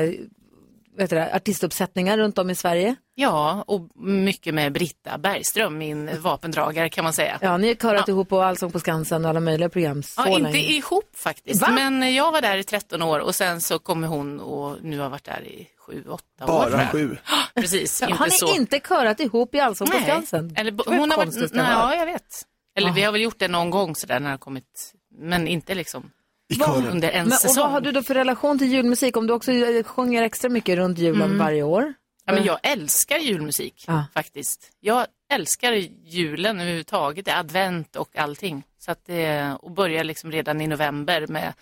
A: vet du det, artistuppsättningar runt om i Sverige.
O: Ja, och mycket med Britta Bergström, min vapendragare kan man säga.
A: Ja, ni har körat ihop och Allsång på Skansen och alla möjliga program. Så
O: Ja, inte
A: länge.
O: ihop faktiskt,
A: Va?
O: men jag var där i 13 år och sen så kommer hon och nu har jag varit där i 7-8 år.
N: Bara
O: tror jag.
N: sju.
O: Ja, Precis,
A: Ja,
O: inte
A: har ni
O: så.
A: inte körat ihop i Allsång på
O: Nej.
A: Skansen?
O: Eller,
A: Det var ju
O: hon har
A: konstigt,
O: varit,
A: det var.
O: ja, jag vet. Eller vi har väl gjort det någon gång sådär när det har kommit, men inte liksom
A: Vad-
O: under en
A: men, Och
O: säsong.
A: vad har du då för relation till julmusik? Om du också eh, sjunger extra mycket runt julen
O: Mm.
A: varje år?
O: Ja, men jag älskar julmusik faktiskt. Jag älskar julen överhuvudtaget, advent och allting. Så att det, och börjar liksom redan i november med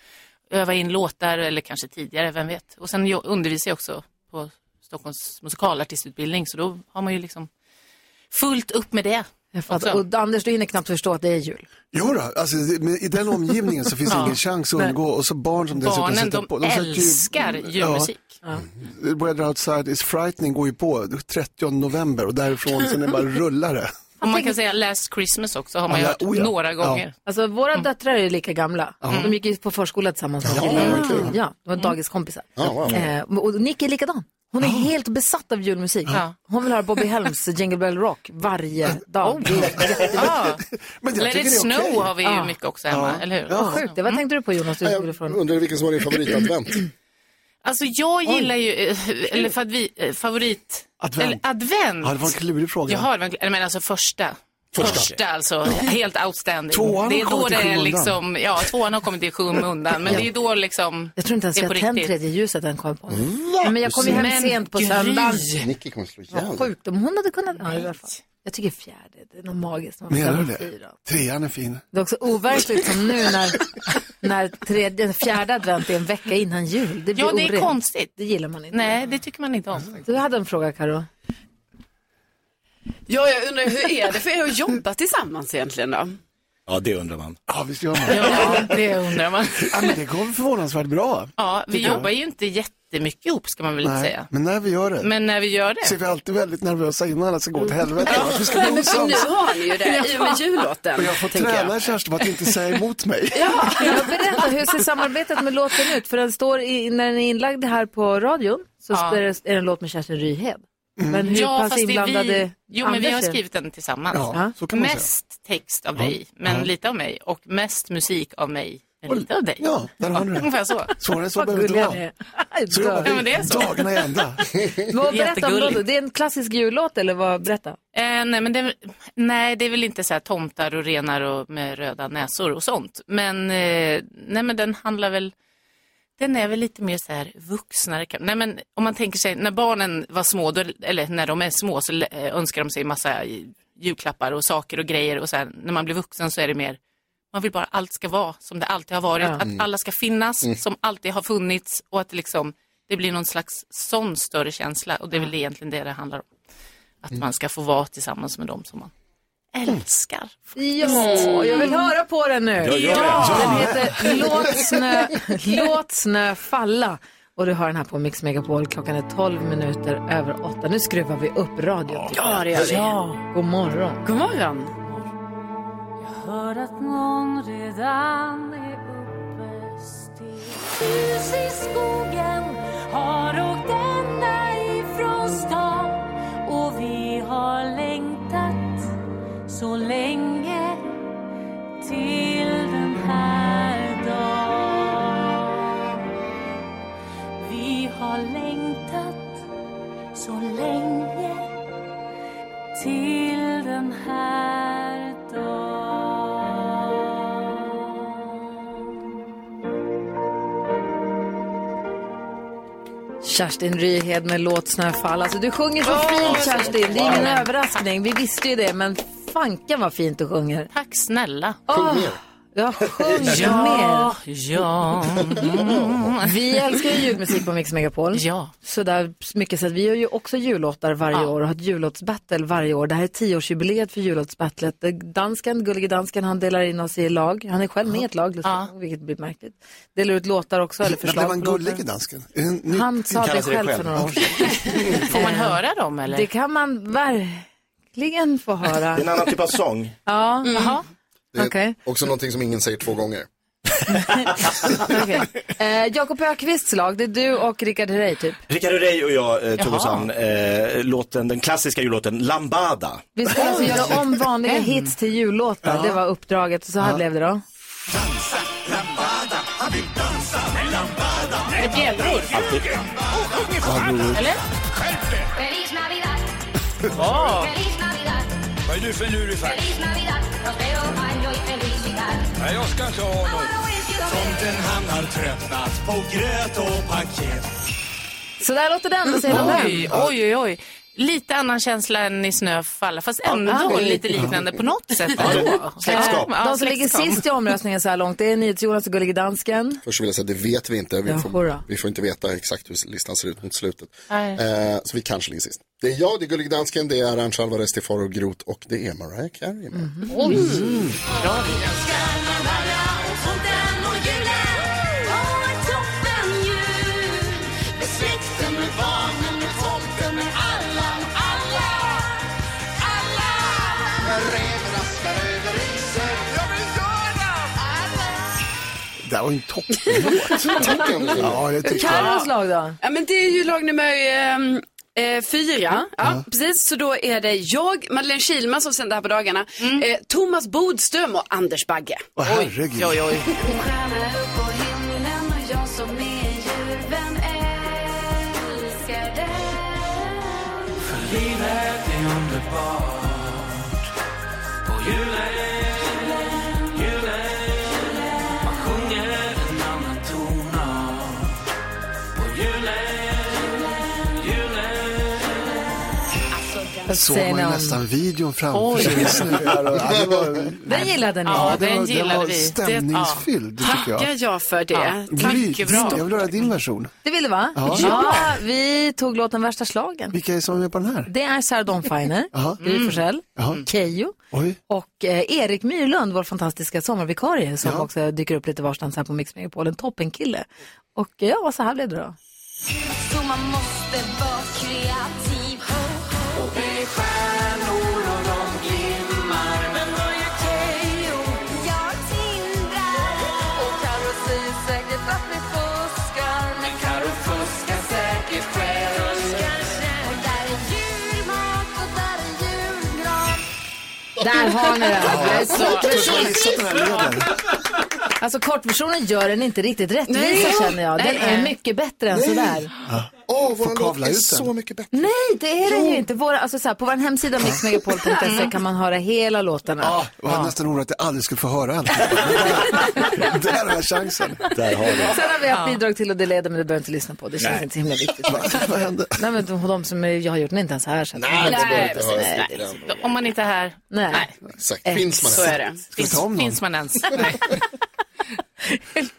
O: öva in låtar eller kanske tidigare, vem vet. Och sen jag undervisar jag också på Stockholms musikalartistutbildning så då har man ju liksom fullt upp med det. Alltså,
A: Jag fattar.
O: också.
A: Och Anders, du hinner knappt förstå att det är jul.
N: Jo då, alltså, det- men i den omgivningen så finns det
A: Ja.
N: ingen chans att
A: Nej.
N: undgå. Och så barn som dessutom
O: Barnen,
N: sätter Mm,
O: de
N: på.
O: älskar
A: Mm.
O: julmusik.
N: The weather outside is frightening går ju på 30 november och därifrån sen är det bara rullare.
O: Och man kan säga Last Christmas också har man ju
N: Ja,
O: hört
N: oh ja.
O: några
N: Ja.
O: gånger. Mm.
A: Alltså våra döttrar är ju lika gamla.
N: Ja.
A: De gick ju på förskola tillsammans.
N: Ja,
A: Ja,
N: verkligen.
A: ja, de var
O: Mm.
A: dagiskompisar.
N: Ja, wow.
A: Eh, och Nick är likadan. Hon är helt besatt av julmusik.
O: Ja.
A: Hon vill höra Bobby Helms Jingle Bell Rock
N: Oh.
A: varje dag. Det är jätteviktigt.
N: Men
O: Let it snow har vi ju mycket också hemma, eller hur?
A: Vad sjukt. Vad tänkte du på Jonas? Du skulle fråga.
D: Mm. Undrar vilken som var din favoritadvent?
O: Alltså jag gillar ju, eh, eller för att vi, eh, favorit...
N: Advent.
O: Eller advent.
N: Ja, det var en klurig fråga.
O: Jaha, det var en, eller men alltså första.
N: Första.
O: Första, alltså, helt outstanding.
N: Tvåan har
O: det är då
N: kommit i
O: det är
N: skymundan.
O: liksom, ja tvåan har kommit i skymundan, men det är då liksom...
A: Jag tror inte ens
O: det
A: vi
O: är på
A: har tänt
O: riktigt.
A: tredje ljuset än kom på. Ja, men jag kom ju hem <clears throat>
O: Men
A: sent på
O: Gry.
A: söndagen.
D: Nicky kommer slå ihjäl
A: Vad
D: dig.
A: sjukt om hon hade kunnat. Ja, i alla fall. Jag tycker fjärde, det är något magiskt. Man får
N: Menar du
A: säga
N: det?
A: fyra.
N: Trean är fin.
A: Det är också overkligt som nu
N: <laughs>
A: när, när tredje, fjärde advent är en vecka innan jul. Det blir
O: Ja, det är
A: orent.
O: konstigt.
A: Det gillar man inte.
O: Nej, det tycker man inte om.
A: Du hade en fråga Karo.
F: Ja, jag undrar hur är det för er att jobba tillsammans egentligen då?
C: Ja, det undrar man.
N: Ja, visst gör man.
O: Ja, det undrar man.
N: Ja, men det går förvånansvärt bra.
O: Ja, vi
N: Tycker jag.
O: jobbar ju inte jättemycket ihop ska man väl inte
N: Nej,
O: säga.
N: Men när vi gör det.
O: Men när vi gör det.
N: Så är vi alltid väldigt nervösa innan att det ska gå åt helvete. Varför ska
F: Nej,
N: vi
F: men för nu
N: osams?
F: har ni ju det i och med jullåten.
N: Och jag får
F: tänker
N: träna Kerstin på att inte säga emot mig.
A: <laughs> Ja, berätta, hur ser samarbetet med låten ut? För den står i, när den är inlagd här på radion så
O: Ja.
A: är det är det en låt med Kerstin Ryhed.
N: Mm.
A: Men hur
O: ja,
A: pass
O: fast det är
A: inblandade
O: vi... Jo, men vi har
A: Anders är?
O: skrivit den tillsammans.
A: Ja, så kan man
O: mest text av
A: Ja.
O: dig, men
A: Ja.
O: lite av mig. Och mest musik av mig Men lite av dig.
N: Ja, där har du det.
O: Ungefär så.
N: Svårare så
O: Vad
N: behöver det
O: gulliga
N: inte
O: ni
N: vara.
O: är.
N: Så jobbar
O: Ja, men det är
N: vi
O: så.
N: dagarna i
O: <laughs>
N: ända.
A: Vad, berätta om det. det är en klassisk jullåt eller vad? Berätta.
O: Eh, nej, men det, nej, det är väl inte så här tomtar och renar och med röda näsor och sånt. Men, eh, nej, men den handlar väl, den är väl lite mer så här vuxnare. kan- Nej, men om man tänker sig, när barnen var små, då, eller när de är små så eh, önskar de sig massa julklappar och saker och grejer. Och så här, när man blir vuxen så är det mer, man vill bara att allt ska vara som det alltid har varit.
B: Ja.
O: Att
B: Mm.
O: alla ska finnas
B: Mm.
O: som alltid har funnits och att det liksom, det blir någon slags sån större känsla. Och det är väl egentligen det det handlar om.
A: Mm.
O: Att man ska få vara tillsammans med dem som man älskar.
A: Ja, jag vill höra på den nu.
O: Ja, gör det. Ja.
A: Den heter Låt snö, Låt snö falla. Och du har den här på Mix Megapol. Klockan är 12 minuter över 8. Nu skruvar vi upp radion.
F: Ja, det gör vi.
A: Ja. God morgon.
F: God morgon.
K: Hör att någon redan är uppe still. Hus i skogen har åkt ända ifrån stan och vi har längtat så länge till den här dagen. Vi har längtat så länge till den här dagen.
A: Kerstin Ryhed med Låt snö falla. Alltså, du sjunger så
O: Åh,
A: fint
O: så-
A: Kerstin. Det är ingen
O: Wow.
A: överraskning. Vi visste ju det, men fanken vad fint du sjunger.
O: Tack snälla.
A: Sjung mer. Ja, sjung
O: Ja,
A: mer.
O: ja. Mm. <laughs>
A: Vi älskar ju julmusik på Mix Megapol.
O: Ja.
A: Så där mycket så att vi gör ju också jullåtar varje år och har ett jullåtsbattle varje år. Det här är tioårsjubileet för jullåtsbattlet. Eh, Dansken, gullige dansken, han delar in oss i lag. Han är själv med i ett lag, vilket blir märkligt. Delar ut låtar också, eller
N: Men
A: förslag.
N: blev han
A: på låtar.
N: gullig i dansken? Är det en ny-
A: Han sa det själv för några år
C: <laughs>
A: sedan.
O: Får man höra dem eller?
A: Det kan man verkligen få höra.
C: Det är en annan typ av sång.
A: Ja,
O: Mm.
A: jaha.
D: Det är
A: Okej.
D: också någonting som ingen säger två gånger.
A: Okej. Eh, Jakob Ökvists lag, det är du och Rickard Herrey typ.
C: Rickard Herrey och jag eh, tog oss
A: Jaha.
C: an eh, låten, den klassiska jullåten Lambada.
A: Vi skulle alltså göra om vanliga
N: Mm.
A: hits till jullåtar.
C: Ja.
A: Det var uppdraget. Så här blev det då.
O: Är det bjällror? Eller?
E: Feliz Navidad!
O: Ja.
E: Feliz Navidad!
P: Vad är du för lurifax?
E: Feliz Navidad! Os veo año y felicidad.
P: Nej, jag ska inte ha något. Tomten han har tröttnat på gröt och paket.
A: Så där låter den. Vad säger du om
O: Oj,
A: den?
O: oj, oj, oj. Lite annan känsla än i snö falla, fast ändå
A: Ah.
O: lite liknande på något sätt.
D: Ja,
O: ändå.
D: släktskap.
O: Ja,
A: De som ligger
O: släktskap.
A: sist i omröstningen så här långt, det är NyhetsJonas och Gullige Dansken.
D: Först vill jag säga, det vet vi inte. Vi,
A: Ja, hurra.
D: får, vi får inte veta exakt hur listan ser ut mot slutet.
A: Nej.
D: Eh, så vi kanske ligger sist. Det är jag, det är Gullig Dansken, det är Arantxa Alvarez, det är Farao Groth och det är Mariah Carey. med.
A: Mhm.
E: Oj!
O: Mm. Bra.
N: Det här var ju en <laughs> topplåt. ja, det tycker jag.
A: lag då?
F: Ja, men det är ju lag nummer ehm, eh, fyra. Ja, precis. Så då är det jag, Madeleine Kilman som sänder här på dagarna, eh, Thomas Bodström och Anders Bagge.
N: Åh, herregud.
O: Mm. Oj, oj.
E: En stjärna upp på himlen och jag som är en djurvän älskar dig
P: För livet är underbart. På julen, julen, man sjunger en annan tonart. På julen, julen,
A: Vad
N: Såg
A: säger
N: man
A: ni
N: ju
A: om-
N: nästan videon framför sig. i snöar och- Ja, det var-
A: Den gillade ni?
N: Ja, den, var, den var stämningsfylld,
A: Det,
N: tycker jag.
F: Tackar jag för det. Tack,
N: Gry,
F: bra.
N: Jag vill höra din version.
A: det ville va?
N: Ja.
A: vi tog låten Värsta slagen.
N: Vilka är som är med på den här?
A: Det är Sarah Dawn Finer,
N: <laughs> Jaha.
A: Gry Forssell, Mm.
N: Jaha.
A: Keyyo
N: Oj.
A: och eh, Erik Myrlund, vår fantastiska sommarvikarie som också dyker upp lite varstans här på Mix Megapol. En toppenkille. Och eh, ja, så här blev det då.
E: Så man måste vara kreativ Och det är stjärnor och de glimmar Men vad gör Keyyo? Jag tindrar Och Carro säger säkert att ni fuskar Men Carro fuskar säkert själv Och där är julmat och där är julgran
A: Där har ni den.
E: Ja,
A: Det är så
E: jag tror jag har
A: precis.
E: missat den här leden.
A: Alltså kortversionen gör den inte riktigt rättvisa
D: Nej.
A: känner jag. Den
D: Nej.
A: är mycket bättre än
D: Nej.
A: sådär.
D: Åh,
A: Får
D: vår låt
A: kavla
D: är
A: ut den.
D: så mycket bättre.
A: Nej, det är den ju inte. Våra, alltså, så här, på vår hemsida mixmegapol.se kan man höra hela låtarna.
N: Jag var nästan orolig att jag aldrig skulle få höra allt. Där har jag chansen.
C: Där har
A: Sen har vi
D: Ah.
A: haft bidrag till och det leder men det behöver jag inte lyssna på. Det känns
N: Nej.
A: inte himla viktigt. <laughs> Vad hände? Nej men de, de som är, jag har gjort den är inte ens här. Så att-
O: Nej, det behöver
A: precis.
O: inte höra.
A: Nej, det är
O: Nej. Om man inte är här.
A: Nej.
D: Exakt.
A: Finns man
O: Så
A: ens?
O: är det.
A: Ska vi
O: Finns,
A: ta om någon?
O: finns
A: <laughs>
O: man ens? Nej.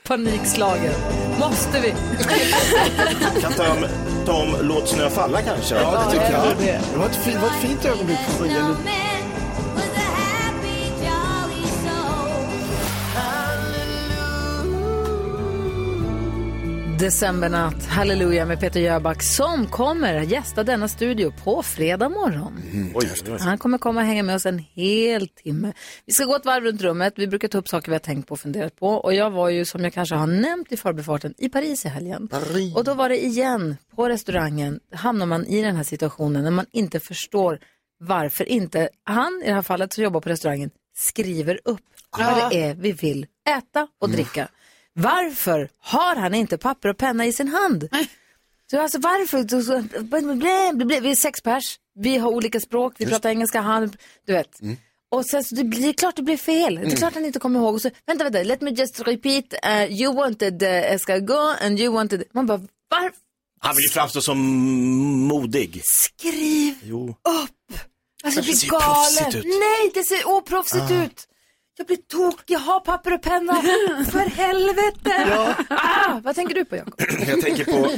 A: Panikslagen. Måste <laughs> vi?
C: Kan ta om, ta om Låt snö falla kanske?
N: Ja, det tycker jag.
C: Det
N: Det var ett fint, var ett fint ögonblick för Maria Lund.
A: Decembernatt, Halleluja med Peter Jöback som kommer gästa denna studio på fredag morgon. Han kommer komma och hänga med oss en hel timme. Vi ska gå ett varv runt rummet. Vi brukar ta upp saker vi har tänkt på och funderat på. Och jag var ju, som jag kanske har nämnt i förbifarten, i Paris i helgen. Och då var det igen, på restaurangen hamnar man i den här situationen när man inte förstår varför inte han, i det här fallet som jobbar på restaurangen, skriver upp vad det är vi vill äta och dricka. Varför har han inte papper och penna i sin hand? Så alltså varför? så- så- blä, blä, blä. Vi är sex pers, vi har olika språk, vi pratar engelska, han, du vet. Och sen så det blir det är klart det blir fel. Det är
K: Mm.
A: klart han inte kommer ihåg. Och så, vänta, vänta, let me just repeat. eh, you wanted uh, escargot and you wanted... Man bara, varför?
C: Han vill ju framstå som modig.
A: Skriv
C: Jo.
A: upp! Alltså
C: Men
A: jag
C: det ser
A: blir
C: ju proffsigt
A: galen.
C: ut.
A: Nej, det ser oproffsigt
C: Ah.
A: ut. Jag blir tokig, jag har papper och <laughs> penna. För helvete! Ah, vad tänker du på Jakob?
C: Jag tänker på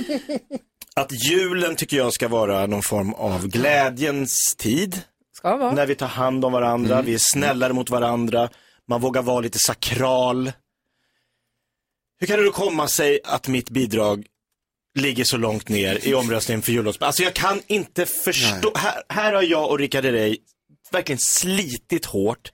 C: att julen tycker jag ska vara någon form av glädjens tid.
A: Ska vara.
C: När vi tar hand om varandra, vi är snällare mot varandra, man vågar vara lite sakral. Hur kan det då komma sig att mitt bidrag ligger så långt ner i omröstningen för jullåtsband? Alltså jag kan inte förstå. Här, här har jag och Rickard Herrey verkligen slitit hårt,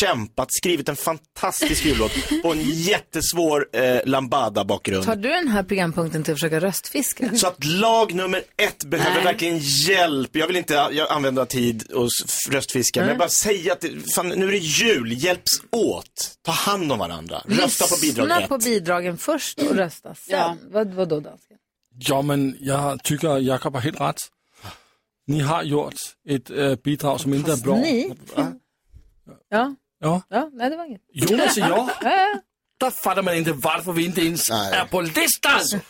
C: kämpat, skrivit en fantastisk jullåt på en jättesvår eh, lambada-bakgrund.
A: Tar du den här programpunkten till att försöka röstfiska?
C: Så att lag nummer ett behöver verkligen hjälp. Jag vill inte jag använda tid och s- röstfiska, men
A: Nej.
C: jag bara säga att det, fan, nu är det jul, hjälps åt. Ta hand om varandra. Rösta på bidrag
A: Lyssna
C: ett.
A: på bidragen först och rösta sen. Vad, vad då dansken?
H: Ja, men jag tycker att Jakob har helt rätt. Ni har gjort ett äh, bidrag som inte är bra.
A: Ni? Ja,
H: Ja. alltså,
A: ja, nej det var inget. <laughs>
H: Jonas och jag.
A: Ja, ja.
H: Där fattar man inte varför vi inte ens är på listan.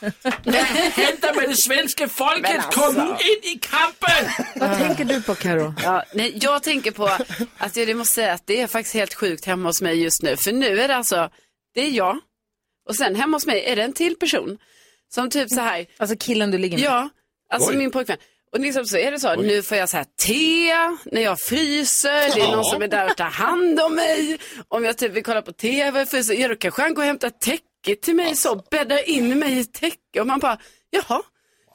H: Vad händer med det svenska folket?
F: Men alltså.
H: Kom in i kampen!
A: Vad tänker du på Karo?
F: Ja, nej, jag tänker på att jag det måste säga att det är faktiskt helt sjukt hemma hos mig just nu. För nu är det alltså, det är jag och sen hemma hos mig är det en till person. Som typ så här.
A: Alltså killen du ligger med?
F: Ja, alltså
A: Oj.
F: min pojkvän. Och liksom så är det så, nu får jag så här te när jag fryser, det är
A: Ja.
F: någon som är där och tar hand om mig. Om jag typ vill kolla på tv, fryser, ja då kanske han går och hämtar täcke till mig så, bäddar in mig i täcke och man bara, jaha,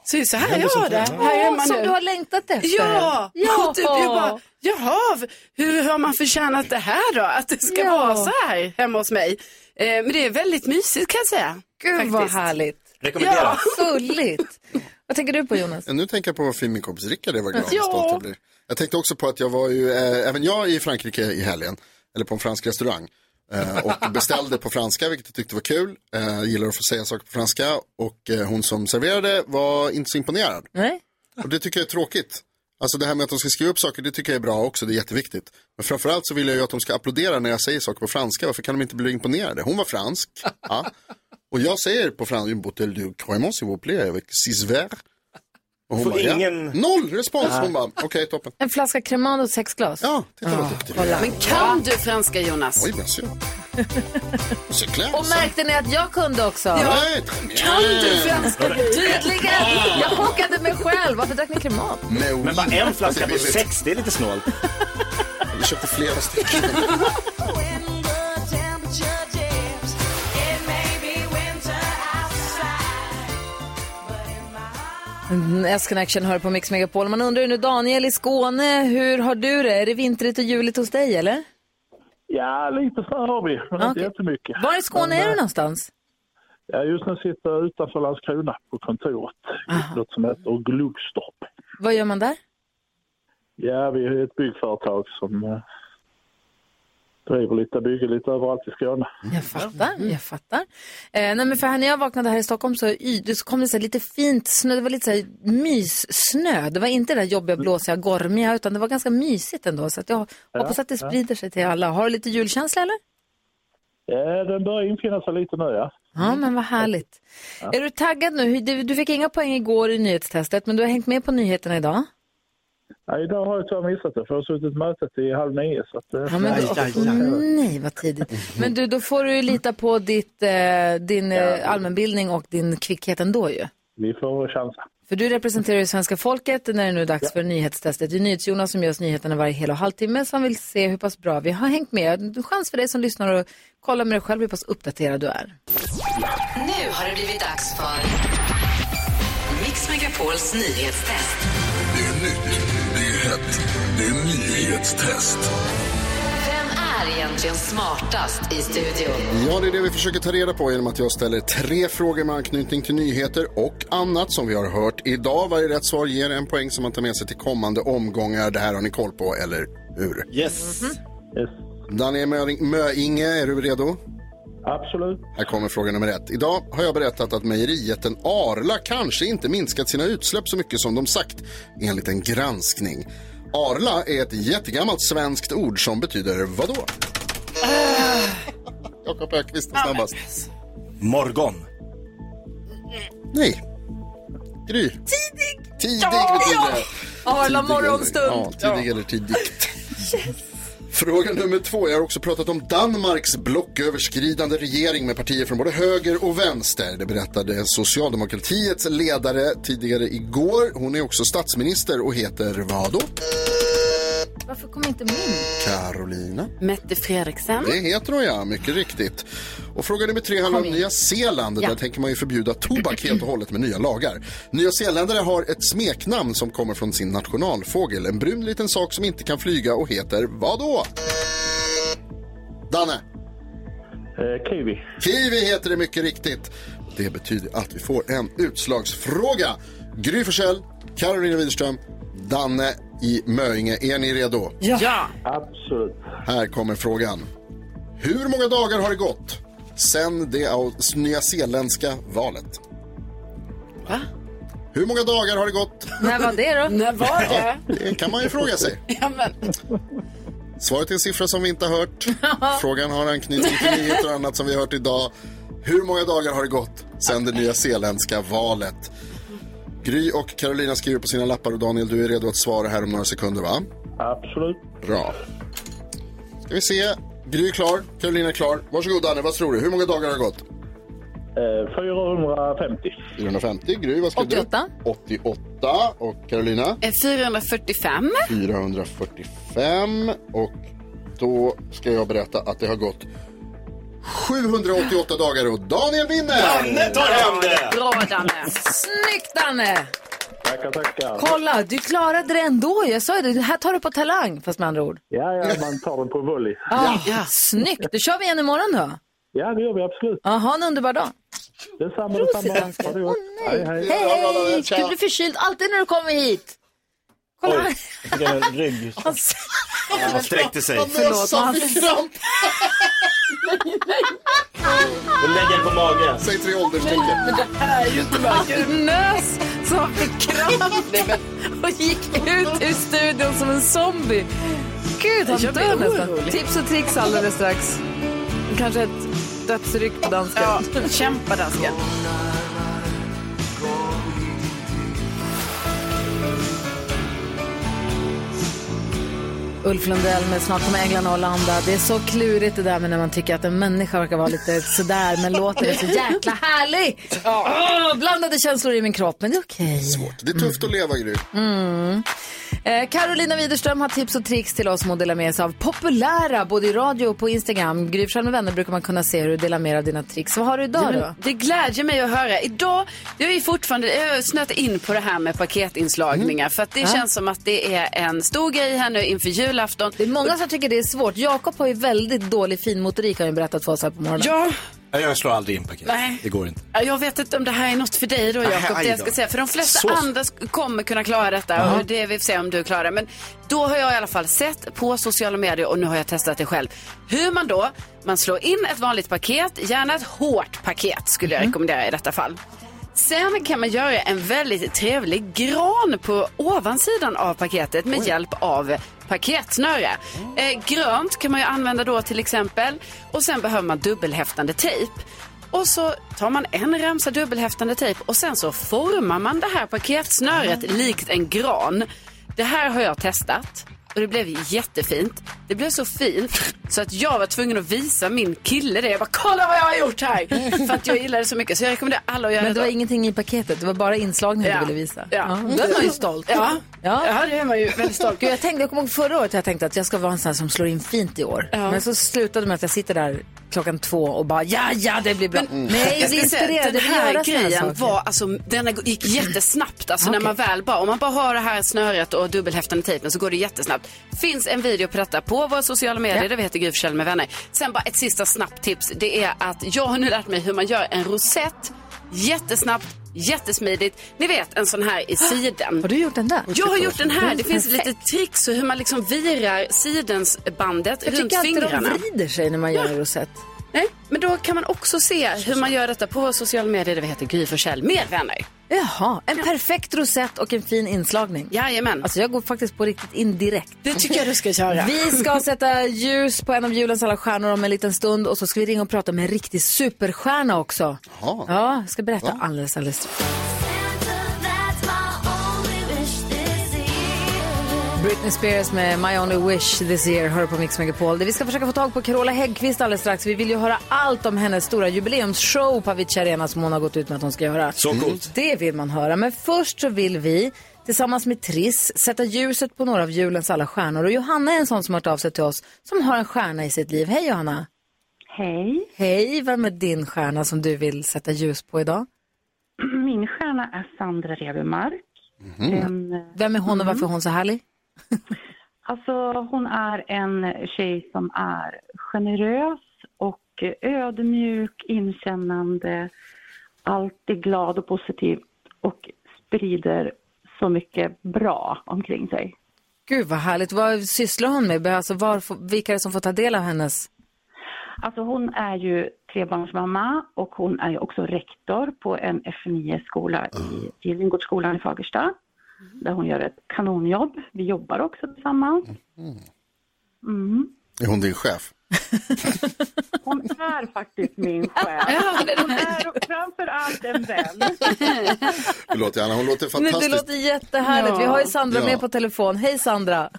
F: så är det så här jag har det, här är man
A: Som
F: nu.
A: du har längtat efter?
F: Ja,
A: ja.
F: Och typ, jag bara, jaha, v- hur har man förtjänat det här då? Att det ska
A: Ja.
F: vara så här hemma hos mig. Eh, men det är väldigt mysigt kan jag säga.
A: Gud vad härligt. Ja, <laughs> Gulligt. Vad tänker du på Jonas?
D: Nu tänker jag på vad fin min kompis Rickard är, vad glad och
A: Ja.
D: stolt jag blir. Jag tänkte också på att jag var ju, eh, även jag i Frankrike i helgen, eller på en fransk restaurang. Eh,
A: <laughs>
D: och beställde på franska, vilket jag tyckte var kul. Eh, gillar att få säga saker på franska. Och eh, hon som serverade var inte så imponerad.
A: Nej.
D: Och det tycker jag är tråkigt. Alltså det här med att de ska skriva upp saker, det tycker jag är bra också, det är jätteviktigt. Men framförallt så vill jag ju att de ska applådera när jag säger saker på franska, varför kan de inte bli imponerade? Hon var fransk, ja. Och jag säger på franska, une bouteille de Crémant s'il vous plaît, avec six verres. Och hon
C: Får
D: bara, ja.
C: ingen-
D: Noll respons,
C: Nej.
D: hon bara, okej toppen.
A: En flaska cremant och sex glas? Ah,
D: Ja, titta vad duktig du är.
F: Men kan du franska Jonas?
D: Oj, bien sûr. C'est clair,
A: Och
D: ça.
A: märkte ni att jag kunde också?
D: Ja, très bien.
A: Kan du franska? Tydligen!
D: Ja.
A: Jag chockade mig själv. Varför drack ni kremat?
C: Men bara en flaska på sex, det är lite snålt.
D: <laughs> Vi köpte flera stycken.
A: S-Connection Mm, hör på Mix Megapol. Man undrar ju nu, Daniel i Skåne, hur har du det? Är det vintrigt och juligt hos dig eller?
Q: Ja, lite så här har vi. Men inte
A: Okej.
Q: jättemycket.
A: Var i Skåne
Q: Men,
A: är du
Q: eh,
A: någonstans?
Q: Ja, just nu sitter jag utanför Landskrona på kontoret. i Något som heter Gluggstorp.
A: Vad gör man där?
Q: Ja, vi är ett byggföretag som eh, driver lite, bygger lite överallt i Skåne.
A: Jag fattar,
Q: Mm.
A: jag fattar. Eh, nej men för här, när jag vaknade här i Stockholm så, y, det- så kom det så här lite fint snö, det var lite så här myssnö. Det var inte det där jobbiga, blåsiga, gormiga utan det var ganska mysigt ändå. Så att jag
Q: Ja,
A: hoppas att det
Q: ja.
A: sprider sig till alla. Har du lite julkänsla eller?
Q: Ja, den börjar infinna sig lite nu Mm. ja.
A: Ja, men vad härligt. Är du taggad nu? Hur- Du, du fick inga poäng igår i nyhetstestet, men du har hängt med på nyheterna idag.
Q: ja idag har jag tyvärr missat det för jag har suttit i mötet till halv nio. Så att, eh,
A: Ja, men då, nej, vad tidigt.
Q: Mm.
A: Men du, då får du ju lita på ditt, eh, din eh, allmänbildning och din kvickhet ändå ju.
Q: Vi får chansa.
A: För du representerar ju svenska folket när det nu är dags för nyhetstestet. Det är NyhetsJonas som gör oss nyheterna varje hel och halvtimme som vill se hur pass bra vi har hängt med. En chans för dig som lyssnar och kolla med dig själv hur pass uppdaterad du är.
B: Nu har det blivit dags för Mix Megapols nyhetstest.
R: Det är nytt, det är hett, det är nyhetstest.
B: Vem är egentligen smartast i studion?
D: Ja, det är det vi försöker ta reda på genom att jag ställer tre frågor med anknytning till nyheter och annat som vi har hört idag. Varje rätt svar ger en poäng som man tar med sig till kommande omgångar. Det här har ni koll på, eller hur?
C: Yes.
D: Daniel Möring- Möinge, är du redo?
Q: Absolut.
D: Här kommer fråga nummer ett. Idag har jag berättat att mejerijätten Arla kanske inte minskat sina utsläpp så mycket som de sagt, enligt en granskning. Arla är ett jättegammalt svenskt ord som betyder vadå? Jakob Öqvist är snabbast.
C: Morgon.
D: Nej. Gry. Tidig. Tidig betyder det.
A: Arla
D: Tidig eller-
A: morgonstund.
D: Ja, tidig eller tidigt. <laughs> Fråga nummer två. Jag har också pratat om Danmarks blocköverskridande regering med partier från både höger och vänster. Det berättade socialdemokratiets ledare tidigare igår. Hon är också statsminister och heter vad då?
A: Varför kom inte min?
D: Carolina.
F: Mette Fredriksen.
D: Det heter hon ja, mycket riktigt. Och fråga nummer tre handlar om Nya Zeeland.
F: Ja.
D: Där tänker man ju förbjuda tobak helt och hållet med nya lagar. Nya Zeeländare har ett smeknamn som kommer från sin nationalfågel. En brun liten sak som inte kan flyga och heter vad då? Danne?
Q: Eh, kiwi.
D: Kiwi heter det mycket riktigt. Det betyder att vi får en utslagsfråga. Gry Forssell, Carolina Widerström, Danne i Möinge. Är ni redo?
F: Ja.
Q: Absolut.
D: Här kommer frågan. Hur många dagar har det gått sedan det au- nyzeeländska valet?
F: Va?
D: Hur många dagar har det gått?
A: När var det då?
F: När var
D: Ja, det kan man ju fråga sig.
F: <laughs> Ja, men...
D: Svaret är en siffra som vi inte har hört. Frågan har anknytning till nyheter och annat som vi har hört idag. Hur många dagar har det gått sedan det nyzeeländska valet? Gry och Carolina skriver på sina lappar och Daniel, du är redo att svara här om några sekunder, va?
Q: Absolut.
D: Bra. Ska vi se. Gry är klar, Carolina är klar. Varsågod Danne, vad tror du? Hur många dagar har det gått?
Q: Eh, 450.
D: 450. Gry, vad skrev
F: 88.
D: du? 88. Och Carolina?
F: Eh, 445.
D: 445. Och då ska jag berätta att det har gått 788 dagar och Daniel vinner!
C: Danne tar hem det!
F: Bra, Danne.
A: Snyggt, Danne!
Q: Tackar, tackar.
A: Kolla, du klarade det ändå. Jag sa ju det, det här tar du på talang, fast med andra ord.
Q: Ja, ja, man tar den på volley.
A: Ah, Snyggt, då kör vi igen imorgon då.
Q: Ja, det gör vi absolut.
A: Ah, ha en underbar dag.
Q: Detsamma, detsamma. Ha det gott. Hej, hej.
A: Hej! Du blir förkyld alltid när du kommer hit. Kolla här.
Q: Jag fick
A: <laughs>
Q: en rygg.
C: Han sträckte sig.
A: Förlåt, men han-
F: Alltså.
D: <laughs>
F: <laughs>
C: Du lägger på magen.
D: Säg tre ålderstecken.
A: Men det här är ju inte
D: <laughs>
A: vackert. Du nös så han fick kramp och gick ut ur studion som en zombie. Gud, han
F: Jag blir
A: dör nästan.
F: orolig.
A: Tips och tricks alldeles strax. Kanske ett dödsryck på danska.
F: Ja, kämpa, dansken.
A: Ulf Lundell med Snart kommer England och Hollanda. Det är så klurigt det där med när man tycker att en människa verkar vara lite sådär men låten är så jäkla härlig. Åh, blandade känslor i min kropp, men det är okej.
D: Det är tufft att leva, Gry.
A: Mm. Eh, Carolina Widerström har tips och tricks till oss som hon delar med sig av. Populära, både i radio och på Instagram. Gry Forssell med vänner brukar man kunna se hur du delar med dig av dina tricks. Vad har du idag
F: Ja, men
A: då?
F: Det glädjer mig att höra. Idag, jag är ju fortfarande, jag har snöat in på det här med paketinslagningar.
D: Mm.
F: För att det
A: Ja.
F: känns som att det är en stor grej här nu inför julafton.
A: Det är Många som tycker det är svårt. Jakob har ju väldigt dålig finmotorik har han ju berättat för oss här på morgonen.
F: Ja,
C: Nej, Jag slår aldrig in paket.
F: Nej.
C: Det går inte.
F: Ja, Jag vet inte om det här är något för dig då Jakob,
C: Aj
F: det jag
C: då.
F: ska säga. För de flesta
C: Så-
F: andra sk- kommer kunna klara detta
C: Jaha.
F: och det vi får se om du klarar det. Men då har jag i alla fall sett på sociala medier och nu har jag testat det själv. Hur man då, man slår in ett vanligt paket, gärna ett hårt paket skulle
C: Mhm.
F: jag rekommendera i detta fall. Sen kan man göra en väldigt trevlig gran på ovansidan av paketet med hjälp av paketsnöre.
A: Mm.
F: Eh, grönt kan man ju använda då till exempel och sen behöver man dubbelhäftande tejp. Och så tar man en ramsa dubbelhäftande tejp och sen så formar man det här paketsnöret
A: Mm.
F: likt en gran. Det här har jag testat och det blev jättefint. Det blev så fint så att jag var tvungen att visa min kille det. Jag bara, kolla vad jag har
A: <laughs>
F: gjort här! För att jag gillar det så mycket så jag rekommenderar alla att göra
A: Men det var
F: det.
A: ingenting i paketet, det var bara inslagningen
F: Ja.
A: du ville visa.
F: Ja.
A: Då är man ju stolt.
F: Ja.
A: Ja.
F: ja, det är man ju väldigt stolt.
A: Gud, jag, tänkte, jag kommer ihåg förra året jag tänkte att jag ska vara en sån här som slår in fint i år.
F: Ja.
A: Men så slutade det med att jag sitter där klockan två och bara ja, ja, det blir bra. Mm. Men, jag är
F: Jag ska
A: ju
F: säga,
A: inspirerad.
F: Den
A: jag vill
F: här
A: göra såna
F: grejen
A: saker. Mm.
F: var, alltså, den gick jättesnabbt. Alltså, när
A: Okej.
F: man väl bara, om man bara har det här snöret och dubbelhäftande tejpen så går det jättesnabbt. Finns en video på detta på våra sociala medier där vi heter Gry Forssell med vänner. Sen bara ett sista snabbt tips. Det är att jag har nu lärt mig hur man gör en rosett jättesnabbt, jättesmidigt. Ni vet en sån här i
A: Ah.
F: siden.
A: Har du gjort den där?
F: Jag har gjort den här. Det finns
A: Perfekt.
F: lite tricks och hur man liksom virar sidensbandet
A: Jag
F: runt
A: tycker alltid de
F: fingrarna.
A: vrider sig när man gör en rosett.
F: Nej, men då kan man också se hur man gör detta på våra sociala medier där vi heter Gry Forssell med vänner.
A: Jaha, en perfekt rosett och en fin inslagning.
F: Jajamän.
A: Alltså jag går faktiskt på riktigt indirekt.
F: Det tycker jag du ska göra.
A: Vi ska sätta ljus på en av julens alla stjärnor om en liten stund och så ska vi ringa och prata med en riktig superstjärna också. Ja, jag ska berätta alldeles, alldeles strax. Britney Spears med My Only Wish This Year hör på Mix Megapol. Där vi ska försöka få tag på Carola Häggkvist alldeles strax. Vi vill ju höra allt om hennes stora jubileumsshow på Avicii Arena som hon har gått ut med att hon ska göra. Mm.
C: Så coolt.
A: Det vill man höra. Men först så vill vi tillsammans med Triss sätta ljuset på några av julens alla stjärnor. Och Johanna är en sån som har hört av sig till oss som har en stjärna i sitt liv. Hej Johanna!
S: Hej.
A: Hej, vem är din stjärna som du vill sätta ljus på idag?
S: Min stjärna är Sandra Rebermark.
C: Mhm.
S: En,
A: Vem är hon och
S: Mhm.
A: varför är hon så härlig?
S: alltså, hon är en tjej som är generös och ödmjuk, inkännande, alltid glad och positiv och sprider så mycket bra omkring sig.
A: Gud vad härligt. Vad sysslar hon med? Alltså, var, vilka är det som får ta del av hennes
S: Alltså hon är ju trebarnsmamma och hon är ju också rektor på en F9-skola i Vingårdsskolan i Fagersta. Där hon gör ett kanonjobb. Vi jobbar också tillsammans. Mm.
D: Är hon din chef?
S: Hon är faktiskt min chef. Hon är framför allt en vän.
D: Förlåt Anna, hon låter
A: <laughs> Men
D: fantastiskt.
A: det låter jättehärligt. Vi har ju Sandra
D: Ja.
A: med på telefon. Hej Sandra!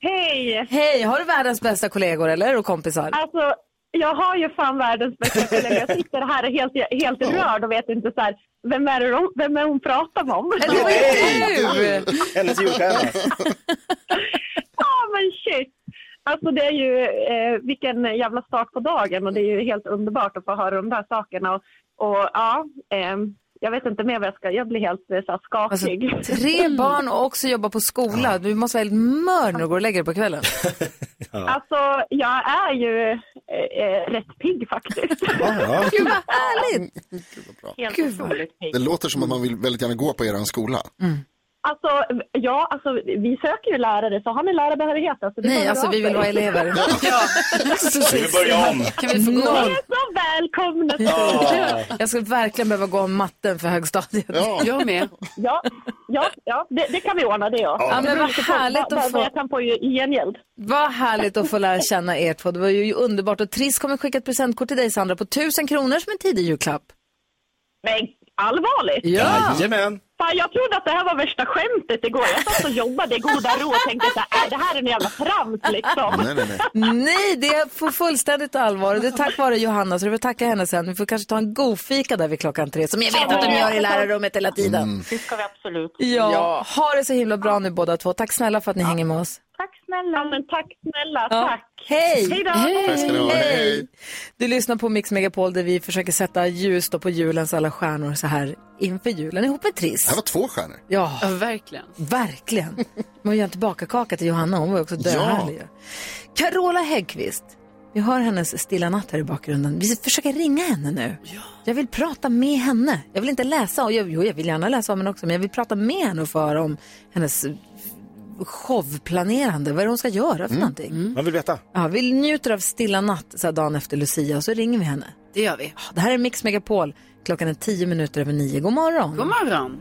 S: Hej!
A: Hej! Har du världens bästa kollegor eller? Och kompisar?
J: <laughs> Alltså, jag har ju fan världens bästa kollega. Jag sitter här och är helt, helt rörd och vet inte så här, vem är det de, vem är hon pratar om? <laughs>
A: Eller vad är du?
J: Hennes julstjärna. Ja, men shit. Alltså det är ju, eh, vilken jävla start på dagen och det är ju helt underbart att få höra de där sakerna. Och, och ja, ehm, jag vet inte mer vad jag ska, jag blir helt eh, så här,
A: Alltså-
J: skakig.
A: Tre barn och också jobbar på skola. Du måste vara helt mör när du går och lägger dig på
D: <laughs>
A: kvällen.
J: Alltså, jag är ju eh, eh, rätt pigg faktiskt.
D: ja.
A: Gud vad härligt!
J: Helt
A: Gud, vad-
J: otroligt pigg.
D: Det låter som att man vill väldigt gärna gå på er skola.
A: Mm.
J: Alltså, ja, alltså, vi söker ju lärare, så har ni lärarbehörighet? Alltså, det
A: Nej,
J: får ni
A: alltså,
J: av
A: vi vill
J: er.
A: vara
J: <laughs>
A: elever. <laughs> Ja. <laughs> Precis.
J: Vi vill börja om.
A: Kan vi få gå?
J: Ni är så välkomna
A: Ja. Jag skulle verkligen behöva gå om matten för högstadiet.
J: Ja. Jag
A: med.
J: Ja, ja, ja det, det kan vi ordna det ja.
A: Ja, men
J: Det beror
A: vad
J: lite på
A: härligt att
J: vad- vad-
A: få-
J: Vad jag kan få ju i gengäld.
A: Vad härligt att få lära känna er två. Det var ju underbart. Och Triss kommer skicka ett presentkort till dig, Sandra, på 1000 kronor som en tidig julklapp.
J: Men allvarligt?
A: Ja.
C: Jajamän.
J: Fan, jag trodde att det här var värsta skämtet igår. Jag satt och jobbade i goda ro och tänkte så här, "Äh, det här är en jävla trams liksom.
D: Nej, nej, nej.
A: Nej, det är på fullständigt allvar. Och det är tack vare Johanna, så du får tacka henne sen. Vi får kanske ta en god fika där vid klockan tre, som jag vet att de gör i lärarrummet hela tiden.
J: Mm.
S: Det ska vi absolut.
A: Ja, ha det så himla bra nu båda två. Tack snälla för att ni hänger med oss.
J: Tack snälla. Ja, men tack snälla,
A: Ja.
J: tack.
A: Hej!
J: Hej då. Tack ska ni ha. Hej.
A: Du lyssnar på Mix Megapol där vi försöker sätta ljus då på julens alla stjärnor så här inför julen ihop med Triss.
D: Det här var två stjärnor.
A: Ja,
F: verkligen.
A: Verkligen. Man gör en tillbakakaka till Johanna, hon var ju också döhärlig. ju. Carola Häggkvist, Vi hör hennes stilla natt här i bakgrunden. Vi försöker ringa henne nu. Jag vill prata med henne. Jag vill inte läsa, och jag, jo, jag vill gärna läsa om henne också, men jag vill prata med henne och få höra om hennes showplanerande, vad är det hon ska göra för
F: Mm.
A: någonting.
C: Man vill veta.
A: Ja, vi njuter av stilla natt så här dagen efter Lucia och så ringer vi henne.
F: Det gör vi.
A: Det här är Mix Megapol. Klockan är tio minuter över nio. God morgon.
F: God morgon.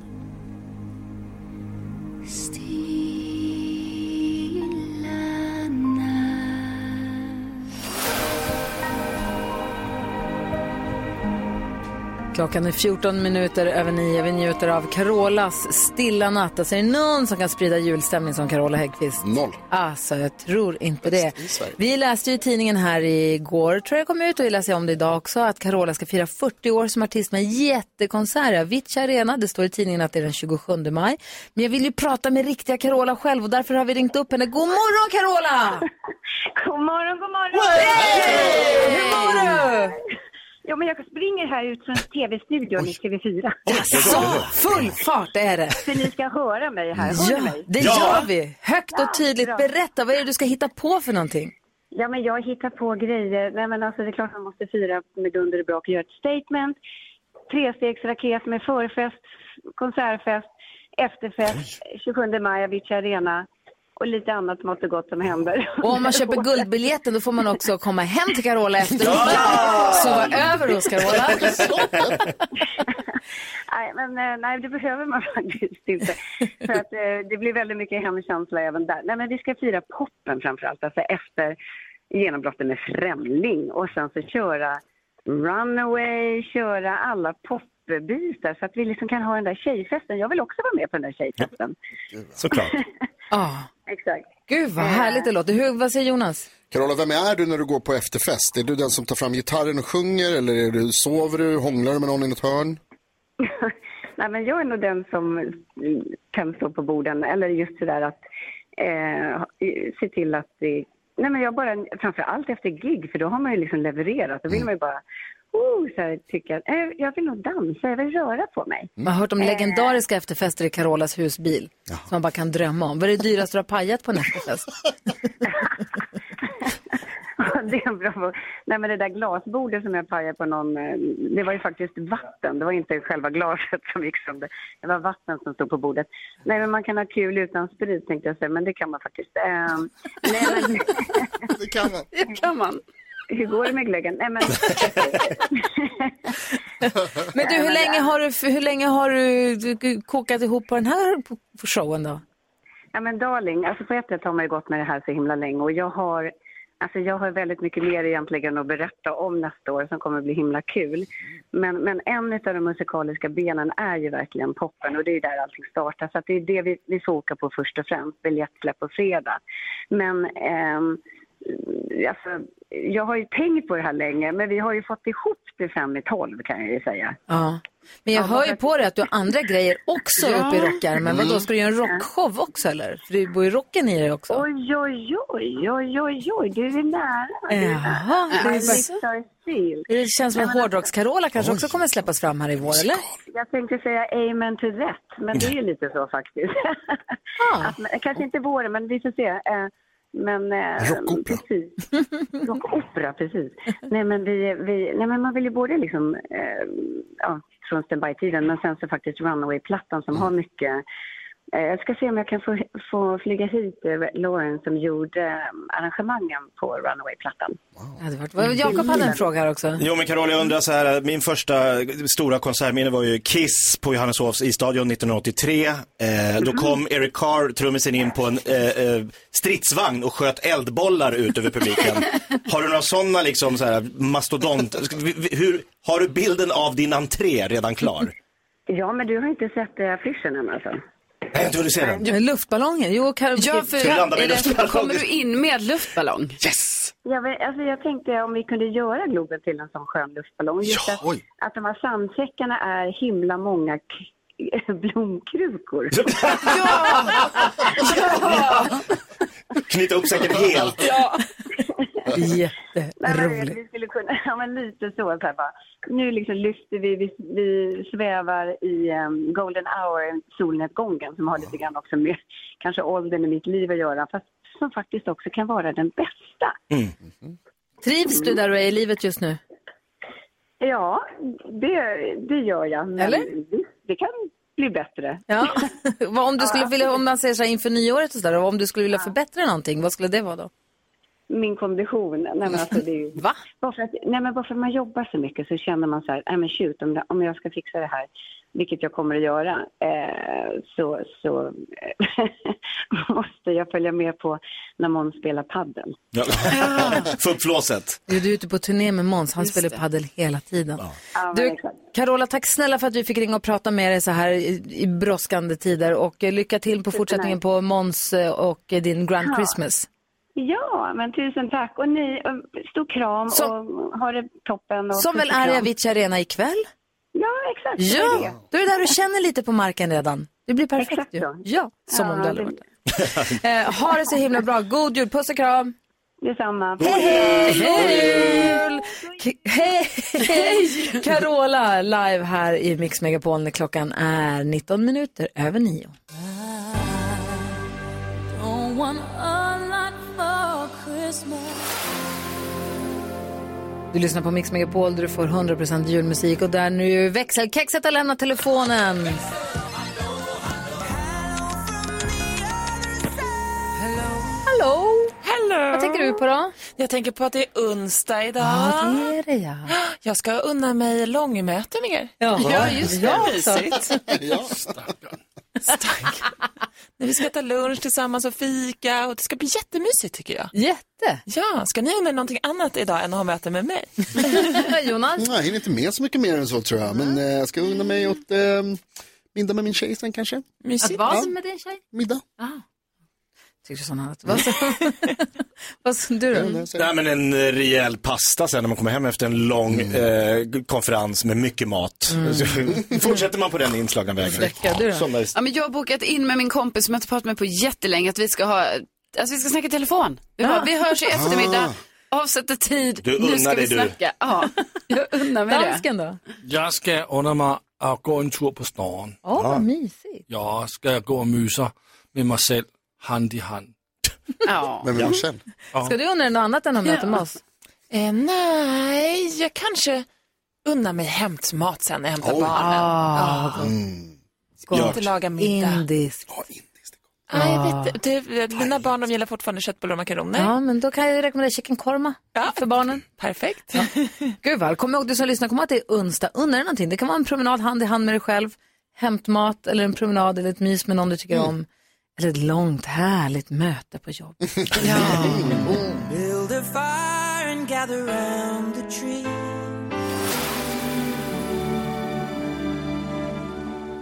A: Klockan är 14 minuter över nio. Vi njuter av Carolas stilla natt. Alltså är det någon som kan sprida julstämning som Carola Häggkvist?
D: Noll.
A: Alltså, jag tror inte det.
D: i Sverige.
A: Vi läste ju i tidningen här igår, tror jag kom ut, och vi läser om det idag också, att Carola ska fira 40 år som artist med en jättekonsert i Avicii Arena. Det står i tidningen att det är den 27 maj. Men jag vill ju prata med riktiga Carola själv och därför har vi ringt upp henne. God morgon Carola!
K: God morgon, god morgon!
A: Hur mår du?
K: Jo, men jag springer här ut från tv-studion i TV4.
A: Så full fart är det!
K: För ni ska höra mig här. Hör ni
A: Ja,
K: mig?
A: det gör vi! Högt
K: Ja,
A: och tydligt.
K: bra.
A: Berätta, vad är det du ska hitta på för någonting?
K: Ja, men jag hittar på grejer. Nej, men alltså, det är klart man måste fira med dunder och brak och göra ett statement. Trestegsraket med förfest, konsertfest, efterfest, 27 maj, Avicii Arena och lite annat mått och gott som händer.
A: Och
K: <laughs>
A: om man köper guldbiljetten då får man också komma hem till Carola efteråt.
K: Ja!
A: Sova över hos Carola.
K: <laughs> nej, men, eh, nej, det behöver man <laughs> faktiskt inte. För att, eh, det blir väldigt mycket hemkänsla även där. Nej, men vi ska fira poppen framför allt, alltså efter genombrottet med Främling och sen så köra Runaway, köra alla popbitar så att vi liksom kan ha den där tjejfesten. Jag vill också vara med på den där tjejfesten.
C: Såklart.
A: Ja,
K: Exakt.
A: Gud vad härligt det låter. Hur, vad säger Jonas?
D: Carola, vem är du när du går på efterfest? Är du den som tar fram gitarren och sjunger eller är du, sover du, hånglar du med någon i något hörn?
K: <laughs> Nej, men jag är nog den som mm, kan stå på borden. Eller just det där att eh, se till att det... Nej, men jag bara, framför allt efter gig, för då har man ju liksom levererat. Då vill man ju bara oh, så här, tycka att eh, jag vill nog dansa, jag vill röra på mig.
A: Man har hört
K: Eh.
A: om legendariska efterfester i Carolas husbil. Som man bara kan drömma om. Vad är det dyraste du har pajat på en
K: <laughs>
A: efterfest?
K: det är en bra fråga. Nej, men det där glasbordet som jag pajade på någon, eh, det var ju faktiskt vatten. Det var inte själva glaset som gick sönder. Det var vatten som stod på bordet. Nej, men man kan ha kul utan sprit tänkte jag säga, men det kan man faktiskt. Eh, nej, men...
D: <laughs> det kan man.
K: Det kan man. Hur går det med glöggen? Nej, men...
A: Men du, hur länge har du, hur länge har du, du kokat ihop på den här showen då?
K: Ja men darling, alltså på ett sätt har man ju gått med det här så himla länge och jag har, alltså jag har väldigt mycket mer egentligen att berätta om nästa år som kommer bli himla kul. Men, men en av de musikaliska benen är ju verkligen poppen och det är ju där allting startar. Så att det är det vi, vi fokar på först och främst, biljettsläpp på fredag. Men ehm, alltså, jag har ju tänkt på det här länge men vi har ju fått ihop det fem i tolv kan jag ju säga.
A: Ja. Men jag
K: Ja,
A: hör ju på dig att du har andra grejer också
K: Ja.
A: uppe i rockärmen. Vadå,
K: Mm.
A: ska du göra en rockshow också eller? För det bor ju rocken i dig också.
K: Oj, oj, oj, oj, oj, oj, du är nära. du är nära.
A: Jaha, det är
K: I
A: så-
K: lift our seal.
A: Det känns som att hårdrocks-Carola kanske också kommer släppas fram här i vår, eller?
K: Jag tänkte säga amen to that, men det är ju lite så faktiskt. Att, men, kanske inte våren, men vi får se. Eh, Men, eh,
D: Rockopera.
K: Precis. Rockopera, precis. Nej men, vi, vi, nej, men man vill ju både liksom, eh, ja, från standby-tiden, men sen så faktiskt Runaway-plattan som har mycket Eh, Jag ska se om jag kan få, få flyga hit eh, Lauren som gjorde eh, arrangemangen på Runaway-plattan.
A: Vad- Jakob hade
K: Mm.
A: en fråga här också.
C: Jo men Carola, jag undrar så här, min första stora konsertminne var ju Kiss på Johanneshovs isstadion 1983. Eh, då kom Eric Carr, trummisen, in på en eh, eh, stridsvagn och sköt eldbollar ut över publiken. har du några sådana liksom så här mastodont, hur, har du bilden av din entré redan klar?
K: Ja, men du har inte sett eh, affischen än alltså?
C: Nej, jag tror du ser den.
A: Jo, luftballonger. Jo, Karo...
F: Ja, för
C: Ska vi landa med
F: är det-
C: luftballong?
F: kommer du in med luftballong?
C: Yes!
K: Jag, vet, alltså jag tänkte om vi kunde göra Globen till en sån skön luftballong. Just att, att de här sandsäckarna är himla många k- <laughs> blomkrukor.
C: Knyta upp
T: <laughs>
C: säcken helt.
K: <laughs> Nej, men du
U: <laughs>
A: Jätteroligt.
K: vet, vi skulle kunna, <laughs> ja men lite så, så här bara. Nu liksom lyfter vi, vi, vi svävar i em, golden hour, solnedgången som har lite grann också med kanske åldern i mitt liv att göra, fast som faktiskt också kan vara den bästa.
A: Trivs du där du är i livet just nu? <laughs>
K: Ja, det, det gör jag. Men
A: Eller?
K: visst, Det kan bli bättre.
A: Ja. Vad om, du skulle vilja, om man säger så här inför nyåret och så där, om du skulle vilja förbättra någonting, vad skulle det vara då?
K: <laughs> Min kondition. Nej, men alltså, det är ju...
A: Va?
K: Bara för, att, nej, men bara för att man jobbar så mycket så känner man så här, nej men shoot, om, det, om jag ska fixa det här, vilket jag kommer att göra, eh, så, så eh, <laughs> måste jag följa med på när någon spelar padel.
C: <laughs> Ja. Få upp flåset.
A: Du är ute på turné med Måns, han spelar ju padel hela tiden. Du, Carola, tack snälla för att vi fick ringa och prata med dig så här i, i brådskande tider och eh, lycka till på fortsättningen på Måns eh, och eh, din Grand
K: Ja.
A: Christmas.
K: Ja, men tusen tack. Och ni, eh, stor kram och ha det toppen. Och
A: Som väl
K: puss och
A: är i
K: kram.
A: Avicii Arena ikväll?
K: Ja, exakt. det är
A: Ja,
K: det.
A: då är det där du känner lite på marken redan. Det blir perfekt ju. Ja, som om
K: Ja,
A: du aldrig
K: det-
A: varit där. eh, Ha det så himla bra. God jul, puss och kram.
K: Detsamma.
A: Hej, hej! K- Hej, hej! Carola live här i Mix Megapol när klockan är 19 minuter över 9.
E: Don't want a lot for Christmas.
A: Du lyssnar på Mix Megapol där du får 100% julmusik och där nu växelkexet har lämnat telefonen. Hallå!
V: Hello.
A: Vad tänker du på då?
V: Jag tänker på att det är onsdag idag.
A: Ja, det är det ja.
V: Jag ska unna mig långmöte med er.
A: Ja,
V: just det.
A: Ja,
N: <laughs>
V: Mysigt.
A: ja.
V: När vi ska äta lunch tillsammans och fika och det ska bli jättemysigt tycker jag.
A: Jätte!
V: Ja, ska ni unna er någonting annat idag än att ha möte med mig?
A: <laughs> Jonas?
V: Alltså-
D: Nej, jag hinner inte med så mycket mer än så tror jag. Men eh, jag ska unna mig åt eh, middag med min tjej sen kanske.
A: Att vad med din tjej?
D: Middag.
A: Ah. Tyckte sån annat. Vad sa <laughs> vad sa du då?
C: Nej, men en eh, rejäl pasta sen när man kommer hem efter en lång
A: Mm.
C: eh, konferens med mycket mat. Så <laughs> Fortsätter man på den inslagna vägen.
A: Rebecka, Mm. du då?
C: Som där-
F: Ja, men jag har bokat in med min kompis som jag inte pratat med på jättelänge att vi ska ha, alltså vi ska snacka i telefon. Vi, bara, vi hörs i eftermiddag, avsätter tid,
H: Du
F: nu ska
H: unnar
F: vi
H: dig, du.
F: snacka. Ja, <laughs> jag unnar mig
A: Dansken då?
H: Jag ska unna mig att gå en tur på stan.
A: Åh,
D: Ah.
A: vad mysigt.
H: Jag ska gå och mysa med mig själv, hand i hand.
F: Ja.
D: Men med mig själv?
V: Ja.
A: Ska du undra dig något annat än att möta med oss?
V: Eh, nej, jag kanske unnar mig hämtmat sen när jag hämtar
A: Oj.
V: barnen.
A: Ah,
V: Ja.
A: gott.
V: Ska
A: Gott.
V: inte laga middag.
A: Indiskt. Ah.
V: Nej, jag vet inte. Du, eh, Dina barn de gillar fortfarande köttbullar och makaroner.
A: Ja, men då kan jag ju rekommendera chicken korma för barnen.
V: Perfekt.
A: Gud vad, kom ihåg du som lyssnar, kom ihåg att det är onsdag. Undra dig någonting. Det kan vara en promenad hand i hand med dig själv, hämtmat eller en promenad eller ett mys med någon du
T: Mm.
A: tycker om. Eller ett långt härligt möte på jobbet.
P: Build a fire and gather round the tree.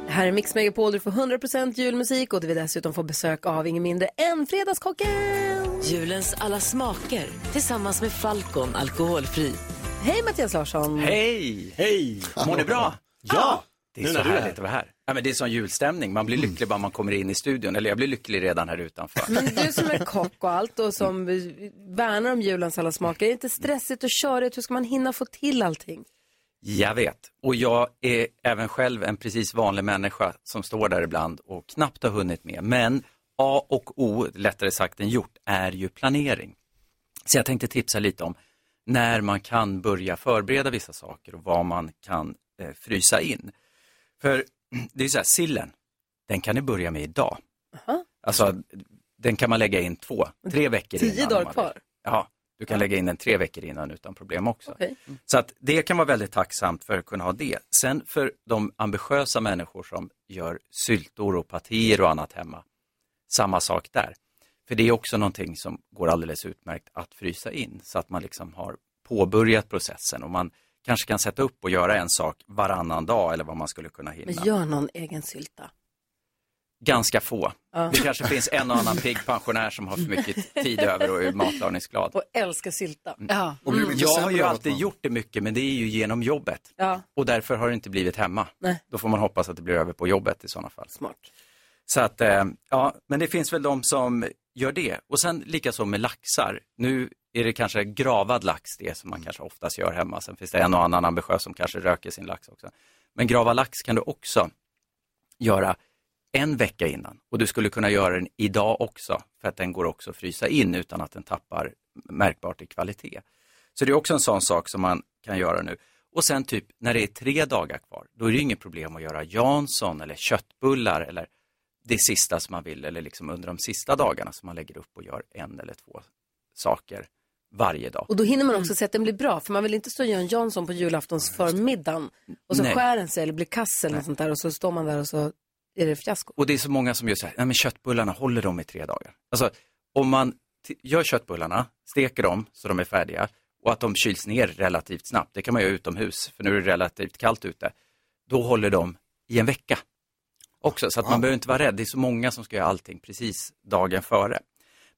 T: Här är Mix Megapol, du får 100% julmusik och du vill dessutom få besök av ingen mindre än Fredagskocken!
W: Julens alla smaker tillsammans med Falcon alkoholfri.
T: Hej Mattias Larsson!
X: Hej! Hej! Mår ni bra?
T: Ja!
X: Det är
Y: Nu
X: så
Y: när du är
X: härligt att vara här. Ja, men det är sån julstämning. Man blir lycklig bara man kommer in i studion. Eller jag blir lycklig redan här utanför.
T: Men du som är kock och allt och som eh, värnar om julens alla smaker, är det inte stressigt och körigt? Hur ska man hinna få till allting?
X: Jag vet. Och jag är även själv en precis vanlig människa som står där ibland och knappt har hunnit med. Men A och O, lättare sagt än gjort, är ju planering. Så jag tänkte tipsa lite om när man kan börja förbereda vissa saker och vad man kan eh, frysa in. För <clears throat> det är så här, sillen, den kan ni börja med idag. Alltså, den kan man lägga in två, tre veckor innan.
T: Tio
X: om
T: dagar
X: man
T: kvar.
X: Ja, du kan lägga in den tre veckor innan utan problem också.
T: Okej.
C: Mm.
X: Så att det kan vara väldigt tacksamt för att kunna ha det. Sen för de ambitiösa människor som gör syltor och patéer och annat hemma, samma sak där. För det är också någonting som går alldeles utmärkt att frysa in så att man liksom har påbörjat processen och man kanske kan sätta upp och göra en sak varannan dag eller vad man skulle kunna hinna.
T: Men gör någon egen sylta.
X: Ganska få.
T: Ja.
X: Det kanske finns en och annan pigg pensionär som har för mycket tid över och är matlagningsglad.
T: Och Mm. älskar sylta.
F: Ja.
X: Mm. Jag har ju alltid gjort det mycket men det är ju genom jobbet.
T: Ja.
X: Och därför har det inte blivit hemma.
T: Nej.
X: Då får man hoppas att det blir över på jobbet i sådana fall.
T: Smart.
X: Så att, eh, ja, men det finns väl de som gör det. Och sen likaså med laxar. Nu är det kanske gravad lax det som man
T: Mm.
X: kanske oftast gör hemma. Sen finns det en och annan ambitiös som kanske röker sin lax också. Men gravad lax kan du också göra en vecka innan. Och du skulle kunna göra den idag också. För att den går också att frysa in utan att den tappar märkbart i kvalitet. Så det är också en sån sak som man kan göra nu. Och sen typ när det är tre dagar kvar, då är det ju inget problem att göra Jansson eller köttbullar eller det sista som man vill eller liksom under de sista dagarna som man lägger upp och gör en eller två saker varje dag.
U: Och då hinner man också se att den blir bra, för man vill inte stå och göra en Jansson på julaftons förmiddagen och så
X: Nej.
U: skär den sig eller blir kass eller något sånt där och så står man där och så är det fiasko.
X: Och det är så många som gör så här, nej men köttbullarna, håller de i tre dagar? Alltså, om man t- gör köttbullarna, steker dem så de är färdiga och att de kyls ner relativt snabbt, det kan man göra utomhus, för nu är det relativt kallt ute, då håller de i en vecka också. Så att man behöver inte vara rädd, det är så många som ska göra allting precis dagen före.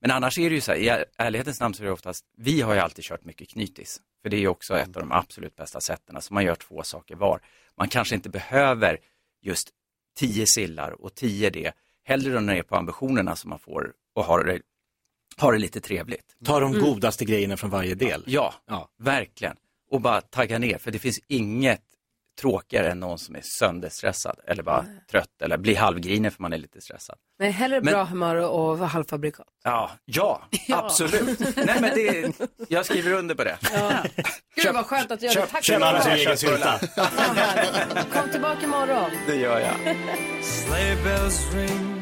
X: Men annars är det ju så här, i är- ärlighetens namn så är det oftast, vi har ju alltid kört mycket knytis. För det är ju också ett av de absolut bästa sätten, alltså man gör två saker var. Man kanske inte behöver just tio sillar och tio det. Hellre då när det är på ambitionerna som man får och har det, har det lite trevligt.
Z: Ta de
A: Mm.
Z: godaste grejerna från varje del.
X: Ja, verkligen. Och bara tagga ner, för det finns inget tråkigare än någon som är sönderstressad eller bara trött eller blir halvgrinen för man är lite stressad.
U: Nej, hellre
X: Men-
U: bra humör och halvfabrikat.
X: Ja, <laughs> ja, absolut. Nej men det, är- jag skriver under på det.
U: Gud vad skönt att du gör det. Tack
X: köp alla
U: så
X: sin
U: mycket.
X: egen sylta.
U: Kom tillbaka imorgon.
X: Det
U: <laughs>
X: gör jag.
C: Sleigh bells ring,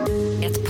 V: Ett